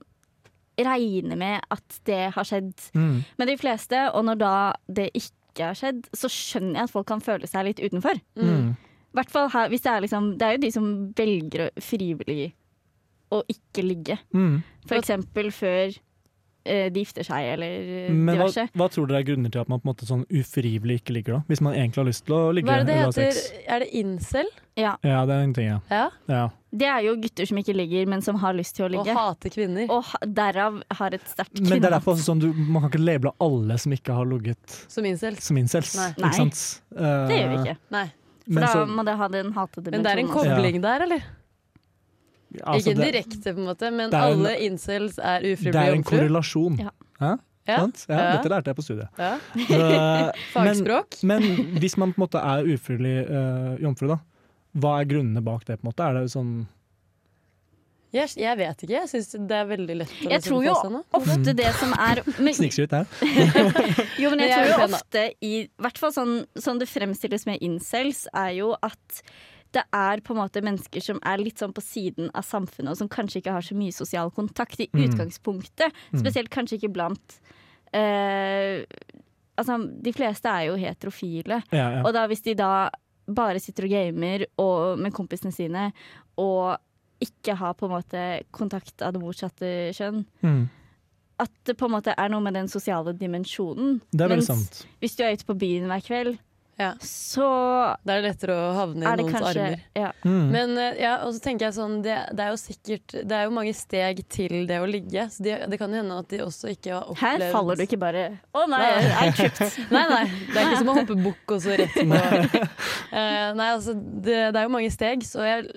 [SPEAKER 2] regner med at det har skjedd
[SPEAKER 3] Mm.
[SPEAKER 2] med de fleste, og når da det ikke har skjedd, så skjønner jeg at folk kan føle seg litt utenfor.
[SPEAKER 3] Mm.
[SPEAKER 2] hvert fall her, hvis det er liksom Det er jo de som velger å- frivillig å ikke ligge.
[SPEAKER 3] Mm.
[SPEAKER 2] For eksempel før eh, de gifter seg, eller eh,
[SPEAKER 3] Men hva,
[SPEAKER 2] diverse.
[SPEAKER 3] hva tror dere er grunner til at man på en måte sånn ufrivillig ikke ligger, da? Hvis man egentlig har lyst til å ligge
[SPEAKER 1] Hva er det det
[SPEAKER 3] eller ha
[SPEAKER 1] heter?
[SPEAKER 3] sex?
[SPEAKER 1] Er det incel?
[SPEAKER 2] Ja.
[SPEAKER 3] Ja, det er en ting, ja.
[SPEAKER 1] Ja.
[SPEAKER 3] ja.
[SPEAKER 2] Det er jo gutter som ikke ligger, men som har lyst til å
[SPEAKER 1] Å
[SPEAKER 2] ligge.
[SPEAKER 1] hate kvinner.
[SPEAKER 2] Og ha, derav har et sterkt
[SPEAKER 3] Men det er derfor
[SPEAKER 2] kvinnehat.
[SPEAKER 3] også sånn du, man kan ikke labele alle som ikke har ligget
[SPEAKER 1] Som incels.
[SPEAKER 3] som incels.
[SPEAKER 1] Nei.
[SPEAKER 2] Nei.
[SPEAKER 3] Ikke sant? Eh,
[SPEAKER 2] Det gjør vi ikke.
[SPEAKER 1] Nei.
[SPEAKER 2] For da må det ha den hatede
[SPEAKER 1] Men det er en
[SPEAKER 2] dimensjonen også.
[SPEAKER 1] kobling der, eller?
[SPEAKER 3] altså,
[SPEAKER 1] ikke
[SPEAKER 3] det-
[SPEAKER 1] direkte, på en måte, men
[SPEAKER 3] det er en-
[SPEAKER 1] alle incels er
[SPEAKER 3] Det er
[SPEAKER 1] ufrivillig
[SPEAKER 3] en
[SPEAKER 1] jomfru.
[SPEAKER 3] korrelasjon.
[SPEAKER 2] Ja.
[SPEAKER 3] Hæ?
[SPEAKER 1] Ja.
[SPEAKER 3] Sant? Ja,
[SPEAKER 1] Ja.
[SPEAKER 3] Dette lærte jeg
[SPEAKER 2] (laughs)
[SPEAKER 3] på studiet.
[SPEAKER 1] Ja.
[SPEAKER 3] Men-
[SPEAKER 1] Fagspråk.
[SPEAKER 3] Men, men hvis man på en måte er ufrivillig eh, jomfru, da, hva er grunnene bak det? på en måte? Er det sånn
[SPEAKER 1] Jeg, jeg vet ikke. Jeg syns det er veldig lett å liksom
[SPEAKER 2] Jeg tror jo ofte det som (laughs) er men,
[SPEAKER 3] snikskryt her?
[SPEAKER 2] Jo, men
[SPEAKER 1] Men
[SPEAKER 2] jeg
[SPEAKER 1] jeg
[SPEAKER 2] tror
[SPEAKER 1] er
[SPEAKER 2] jo
[SPEAKER 1] pen, da.
[SPEAKER 2] ofte i hvert fall sånn, sånn det fremstilles med incels, er jo at det er på en måte mennesker som er litt sånn på siden av samfunnet, og som kanskje ikke har så mye sosial kontakt i
[SPEAKER 3] Mm.
[SPEAKER 2] utgangspunktet. Spesielt kanskje ikke blant eh, Altså, de fleste er jo heterofile.
[SPEAKER 3] Ja, ja.
[SPEAKER 2] Og da hvis de da bare sitter og gamer og, med kompisene sine, og ikke har på en måte kontakt av det motsatte kjønn,
[SPEAKER 3] Mm.
[SPEAKER 2] at det på en måte er noe med den sosiale dimensjonen.
[SPEAKER 3] Det er veldig
[SPEAKER 2] Mens
[SPEAKER 3] sant.
[SPEAKER 2] hvis du er ute på byen hver kveld,
[SPEAKER 1] Ja.
[SPEAKER 2] så
[SPEAKER 1] Da er det lettere å havne i
[SPEAKER 2] er det
[SPEAKER 1] noens
[SPEAKER 2] kanskje
[SPEAKER 1] armer.
[SPEAKER 2] ja.
[SPEAKER 3] Mm.
[SPEAKER 1] Men eh, ja, og så tenker jeg sånn det, det er jo sikkert Det er jo mange steg til det å ligge, så de, det kan jo hende at de også ikke har opplevd
[SPEAKER 2] Her faller du ikke bare Å nei,
[SPEAKER 1] Nei.
[SPEAKER 2] jeg er tripped.
[SPEAKER 1] (laughs) Nei, nei. Det er ikke som å hoppe bukk og så rett på (laughs) Eh, Nei, altså, det, det er jo mange steg, så jeg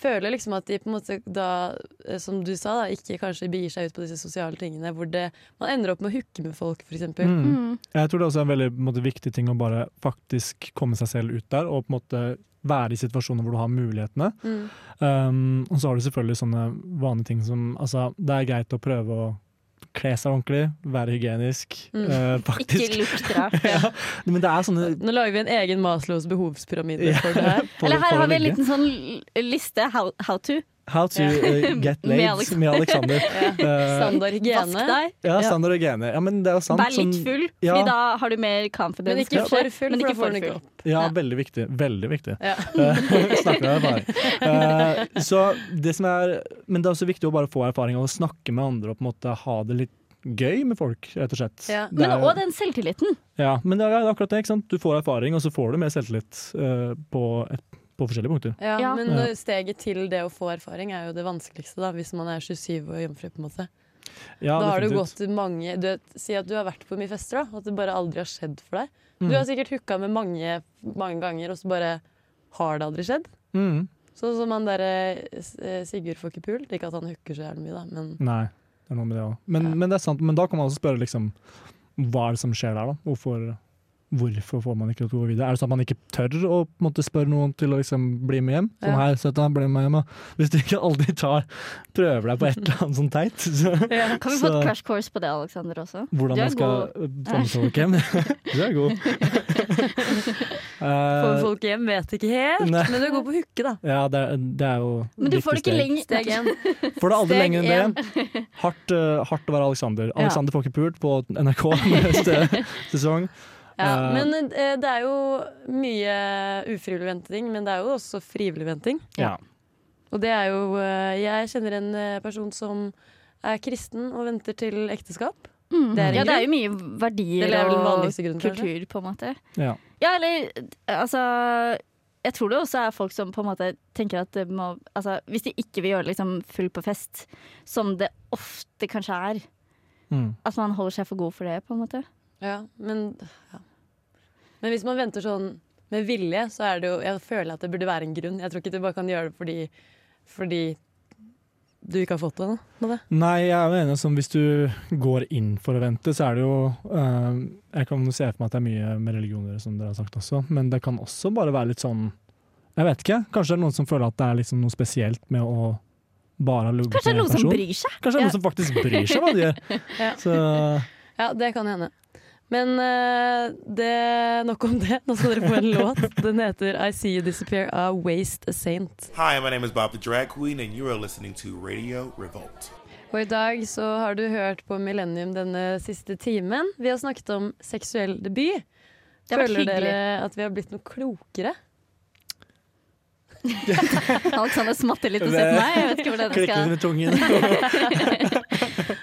[SPEAKER 1] føler liksom at de på en måte da, eh, som du sa, da, ikke kanskje begir seg ut på disse sosiale tingene hvor det, man ender opp med å hooke med folk, for eksempel.
[SPEAKER 3] Mm. Jeg tror det også er en veldig på en måte, viktig ting å bare faktisk komme seg selv ut der, og på en måte være i situasjoner hvor du har mulighetene.
[SPEAKER 1] Mm.
[SPEAKER 3] Um, og så har du selvfølgelig sånne vanlige ting som altså, Det er greit å prøve å kle seg ordentlig, være hygienisk,
[SPEAKER 1] Mm.
[SPEAKER 3] eh,
[SPEAKER 2] Ikke
[SPEAKER 3] faktisk.
[SPEAKER 2] lukt rart.
[SPEAKER 3] (laughs) ja. Men det er sånne
[SPEAKER 1] Nå lager vi en egen Maslows behovspyramide
[SPEAKER 3] Ja.
[SPEAKER 1] for det
[SPEAKER 3] (laughs)
[SPEAKER 1] her.
[SPEAKER 3] for-
[SPEAKER 2] Eller her
[SPEAKER 3] for å
[SPEAKER 2] har vi en
[SPEAKER 3] ligge.
[SPEAKER 2] liten sånn l- liste. How, how to.
[SPEAKER 3] How to eh, get
[SPEAKER 2] (laughs) Med
[SPEAKER 3] laid
[SPEAKER 2] Alexander.
[SPEAKER 3] med
[SPEAKER 2] (laughs)
[SPEAKER 3] Alexander. Eh,
[SPEAKER 1] Standard
[SPEAKER 2] Vask
[SPEAKER 1] hygiene.
[SPEAKER 2] deg.
[SPEAKER 3] ja, standard hygiene. Ja, men det er jo sant.
[SPEAKER 2] Vær litt
[SPEAKER 3] sånn-
[SPEAKER 2] full,
[SPEAKER 3] ja.
[SPEAKER 2] Fordi da har du mer confidence.
[SPEAKER 1] Men ikke
[SPEAKER 2] kanskje.
[SPEAKER 1] for full,
[SPEAKER 2] Men
[SPEAKER 1] for da
[SPEAKER 2] ikke
[SPEAKER 1] får den
[SPEAKER 2] for
[SPEAKER 1] ikke
[SPEAKER 2] full.
[SPEAKER 1] opp.
[SPEAKER 3] Ja, veldig viktig. Veldig
[SPEAKER 1] (laughs)
[SPEAKER 3] viktig.
[SPEAKER 1] Ja.
[SPEAKER 3] Eh, Snakker av erfaring. Eh, så det som er, men det er også viktig å bare få erfaring av å snakke med andre og på en måte ha det litt gøy med folk, rett og slett.
[SPEAKER 1] Ja.
[SPEAKER 3] Det
[SPEAKER 2] Men
[SPEAKER 3] er-
[SPEAKER 2] òg den selvtilliten.
[SPEAKER 3] Ja, men det er akkurat det. ikke sant? Du får erfaring, og så får du mer selvtillit eh, på, et, på forskjellige punkter.
[SPEAKER 1] Ja,
[SPEAKER 2] Ja.
[SPEAKER 1] Men
[SPEAKER 3] Ja.
[SPEAKER 1] eh, steget til det å få erfaring er jo det vanskeligste, da, hvis man er 27 og jomfru, på en måte.
[SPEAKER 3] Ja,
[SPEAKER 1] da har du
[SPEAKER 3] definitivt.
[SPEAKER 1] gått mange du vet, Si at du har vært på mye fester, da, og at det bare aldri har skjedd for deg.
[SPEAKER 3] Mm.
[SPEAKER 1] Du har sikkert hooka med mange, mange ganger, og så bare har det aldri skjedd.
[SPEAKER 3] Mm.
[SPEAKER 1] Sånn som han derre eh, Sigurd får ikke pul. Ikke at han hooker så jævlig mye, da, men
[SPEAKER 3] Nei, det er noe med det òg. Men, men det er sant, men da kan man også spørre liksom, hva er det som skjer der, da? Hvorfor, hvorfor får man ikke lov til å gå videre? Er det sånn at man ikke tør å på en måte, spørre noen til å liksom, bli med hjem? Sånn
[SPEAKER 1] Ja.
[SPEAKER 3] her, søt da, bli med hjem, da. Hvis du ikke alltid tar, prøver deg på et eller annet sånn teit, så (laughs)
[SPEAKER 2] Kan vi få
[SPEAKER 3] Så-
[SPEAKER 2] et crash course på det, Alexander, også?
[SPEAKER 3] hvordan
[SPEAKER 2] Du er
[SPEAKER 3] man skal
[SPEAKER 2] god. (laughs)
[SPEAKER 3] vannfolke hjem. du er god.
[SPEAKER 1] Får
[SPEAKER 3] Eh,
[SPEAKER 1] folk hjem, vet ikke helt.
[SPEAKER 3] Nei.
[SPEAKER 1] Men du er god på å hooke, da.
[SPEAKER 3] ja, det er, det er jo
[SPEAKER 2] Men du
[SPEAKER 3] riktig
[SPEAKER 2] får det ikke
[SPEAKER 3] steg.
[SPEAKER 2] lenger.
[SPEAKER 1] Steg én.
[SPEAKER 3] Får det aldri
[SPEAKER 2] Steg
[SPEAKER 3] lenger enn det. Hardt, eh, hardt å være Alexander. Alexander får ikke pult på NRK (laughs) neste
[SPEAKER 2] (laughs)
[SPEAKER 3] sesong.
[SPEAKER 1] Ja,
[SPEAKER 3] Eh,
[SPEAKER 1] men eh, det er jo mye ufrivillig venting, men det er jo også frivillig venting.
[SPEAKER 3] Ja.
[SPEAKER 1] Og det er jo eh, Jeg kjenner en eh, person som er kristen og venter til ekteskap. Mm. Det er en
[SPEAKER 2] ja, det er
[SPEAKER 1] grunn.
[SPEAKER 2] jo mye verdier
[SPEAKER 1] Eller er vel den
[SPEAKER 2] og
[SPEAKER 1] vanligste grunnen, kanskje?
[SPEAKER 2] kultur, på en måte.
[SPEAKER 3] Ja.
[SPEAKER 2] Ja, eller altså Jeg tror det også er folk som på en måte tenker at det må altså, Hvis de ikke vil gjøre det liksom full på fest, som det ofte kanskje er,
[SPEAKER 3] Mm.
[SPEAKER 2] at man holder seg for god for det, på en måte.
[SPEAKER 1] Ja, men, ja. men hvis man venter sånn med vilje, så er det jo Jeg føler at det burde være en grunn. Jeg tror ikke du bare kan gjøre det fordi, fordi du ikke har fått det ennå.
[SPEAKER 3] Nei, jeg er jo enig som hvis du går inn for å vente, så er det jo eh, Jeg kan jo se for meg at det er mye med religioner, som dere har sagt også, men det kan også bare være litt sånn Jeg vet ikke. Kanskje det er noen som føler at det er liksom noe spesielt med å bare ha ligget
[SPEAKER 2] Kanskje det er
[SPEAKER 3] med en
[SPEAKER 2] noen som
[SPEAKER 3] person.
[SPEAKER 2] bryr seg?
[SPEAKER 3] Kanskje det er noen som faktisk bryr seg hva de
[SPEAKER 2] (laughs)
[SPEAKER 3] gjør.
[SPEAKER 1] Ja.
[SPEAKER 3] Så
[SPEAKER 1] Ja, det kan hende. Men eh, det, nok om det. Nå skal dere få (laughs) en låt. Den heter I See You Disappear av Waste a Saint.
[SPEAKER 9] Hi, my name is Bob the Drag Queen, and you are listening to Radio Revolt.
[SPEAKER 1] Og i dag så har du hørt på Millennium denne siste timen. Vi har snakket om seksuell debut.
[SPEAKER 2] Det har vært
[SPEAKER 1] Føler dere
[SPEAKER 2] hyggelig.
[SPEAKER 1] at vi har blitt noe klokere?
[SPEAKER 2] Alexander smatter litt og ser på meg. Jeg vet ikke hvordan jeg
[SPEAKER 3] klikker
[SPEAKER 2] skal
[SPEAKER 3] det med
[SPEAKER 2] (laughs)
[SPEAKER 3] tungen.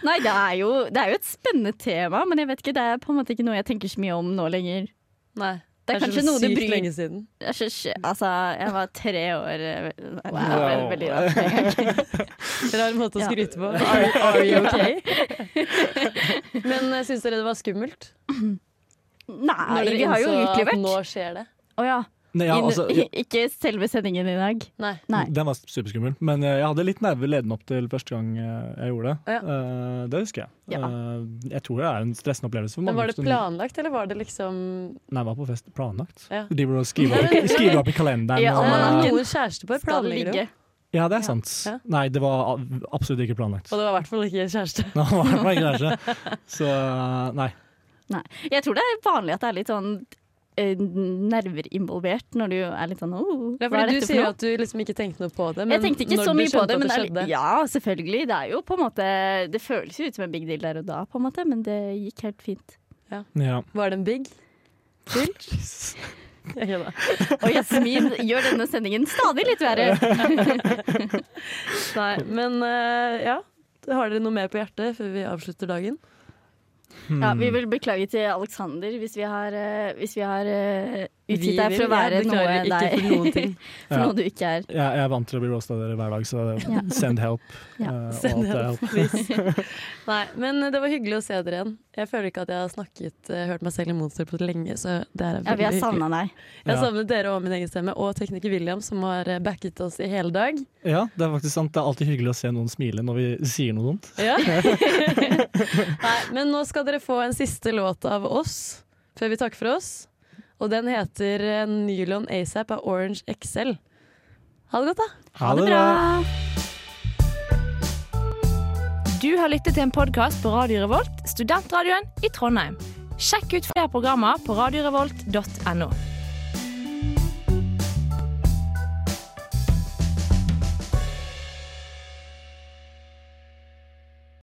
[SPEAKER 2] Nei, det er, jo, det er jo et spennende tema, men jeg vet ikke, det er på en måte ikke noe jeg tenker så mye om nå lenger.
[SPEAKER 1] Nei.
[SPEAKER 2] Det er kanskje noe du
[SPEAKER 1] sånn sykt
[SPEAKER 2] bryr-
[SPEAKER 1] lenge siden.
[SPEAKER 2] Jeg synes- altså, jeg var tre år eh, Nei, det var
[SPEAKER 3] Wow.
[SPEAKER 2] veldig (laughs) rart.
[SPEAKER 1] (laughs) Rar måte å
[SPEAKER 2] Ja.
[SPEAKER 1] skryte på. Are, are you okay? (laughs) Men uh, syns dere det var skummelt?
[SPEAKER 2] Nei,
[SPEAKER 1] Når dere
[SPEAKER 2] vi har jo
[SPEAKER 1] innså at
[SPEAKER 2] utlevert.
[SPEAKER 1] Nå skjer det.
[SPEAKER 2] Å ja.
[SPEAKER 3] Nei, ja,
[SPEAKER 2] Inn-
[SPEAKER 3] altså,
[SPEAKER 2] (laughs) Ikke selve sendingen i dag.
[SPEAKER 1] Nei.
[SPEAKER 2] Nei.
[SPEAKER 3] Den var superskummel, men eh, jeg hadde litt nerver ledende opp til første gang eh, jeg gjorde det.
[SPEAKER 1] Ja.
[SPEAKER 3] Eh, det husker jeg.
[SPEAKER 2] Ja.
[SPEAKER 3] Eh, jeg tror det er en stressende opplevelse for mange.
[SPEAKER 1] Men var det
[SPEAKER 3] som-
[SPEAKER 1] planlagt, eller var det liksom
[SPEAKER 3] Nei, jeg var på fest planlagt.
[SPEAKER 1] Ja.
[SPEAKER 3] De burde skrive opp, i- skrive opp i kalenderen.
[SPEAKER 2] Ja,
[SPEAKER 3] og-
[SPEAKER 2] almanakken.
[SPEAKER 1] Noen kjærestepar
[SPEAKER 2] Skal det
[SPEAKER 1] planlegger jo.
[SPEAKER 2] ligge?
[SPEAKER 3] ja, det er sant.
[SPEAKER 1] Ja.
[SPEAKER 3] Nei, det var a- absolutt ikke planlagt.
[SPEAKER 1] Og det var i hvert fall ikke kjæreste.
[SPEAKER 3] (laughs) Nå var det bare greier. Så eh, nei.
[SPEAKER 2] Nei. Jeg tror det er vanlig at det er litt sånn eh, nerver involvert når du er litt sånn oh,
[SPEAKER 1] Ja,
[SPEAKER 2] hva er
[SPEAKER 1] fordi du
[SPEAKER 2] dette
[SPEAKER 1] sier
[SPEAKER 2] for noe?
[SPEAKER 1] at du liksom ikke tenkte noe på det. Men
[SPEAKER 2] Jeg tenkte ikke
[SPEAKER 1] når
[SPEAKER 2] så
[SPEAKER 1] du
[SPEAKER 2] mye på
[SPEAKER 1] skjønte at
[SPEAKER 2] det, men det
[SPEAKER 1] skjedde,
[SPEAKER 2] er- ja, selvfølgelig. Det er jo på en måte Det føles jo ut som en big deal der og da, på en måte, men det gikk helt fint.
[SPEAKER 3] Ja.
[SPEAKER 1] Var det en big? Til? Jeg kødda.
[SPEAKER 2] Og
[SPEAKER 1] (laughs)
[SPEAKER 2] Jasmin gjør denne sendingen stadig litt verre.
[SPEAKER 1] Nei, men eh, ja. Har dere noe mer på hjertet før vi avslutter dagen?
[SPEAKER 3] Hmm.
[SPEAKER 2] Ja,
[SPEAKER 3] Mm.
[SPEAKER 2] vi vil beklage til Aleksander hvis vi har, eh, hvis vi har eh,
[SPEAKER 1] Vi
[SPEAKER 2] utgitt deg
[SPEAKER 1] vil-
[SPEAKER 2] for å være
[SPEAKER 1] jeg
[SPEAKER 2] noe
[SPEAKER 1] beklager ikke (laughs)
[SPEAKER 2] deg-
[SPEAKER 1] for noen ting.
[SPEAKER 2] for noe du ikke er.
[SPEAKER 3] Jeg, jeg er vant til å bli roasta av dere hver dag, så send help.
[SPEAKER 2] Ja,
[SPEAKER 3] eh, og
[SPEAKER 1] Send
[SPEAKER 3] alt det
[SPEAKER 1] help, please. Nei, men det var hyggelig å se dere igjen. Jeg føler ikke at jeg har snakket, eh, hørt meg selv i Monster på lenge, så det er veldig
[SPEAKER 2] Ja, vi har
[SPEAKER 1] hyggelig.
[SPEAKER 2] savna deg.
[SPEAKER 1] Jeg har
[SPEAKER 3] Ja.
[SPEAKER 1] savnet dere og min egen stemme, og tekniker William, som har eh, backet oss i hele dag.
[SPEAKER 3] Ja, det er faktisk sant. Det er alltid hyggelig å se noen smile når vi sier noe dumt.
[SPEAKER 1] Ja. Nei, men nå skal dere få en siste låt av oss før vi takker for oss. Og den heter eh, Nylon ASAP av Orange XL. Ha det godt, da.
[SPEAKER 3] Ha det bra!
[SPEAKER 10] Du har lyttet til en podkast på Radio Revolt, studentradioen i Trondheim. Sjekk ut flere programmer på radiorevolt.no.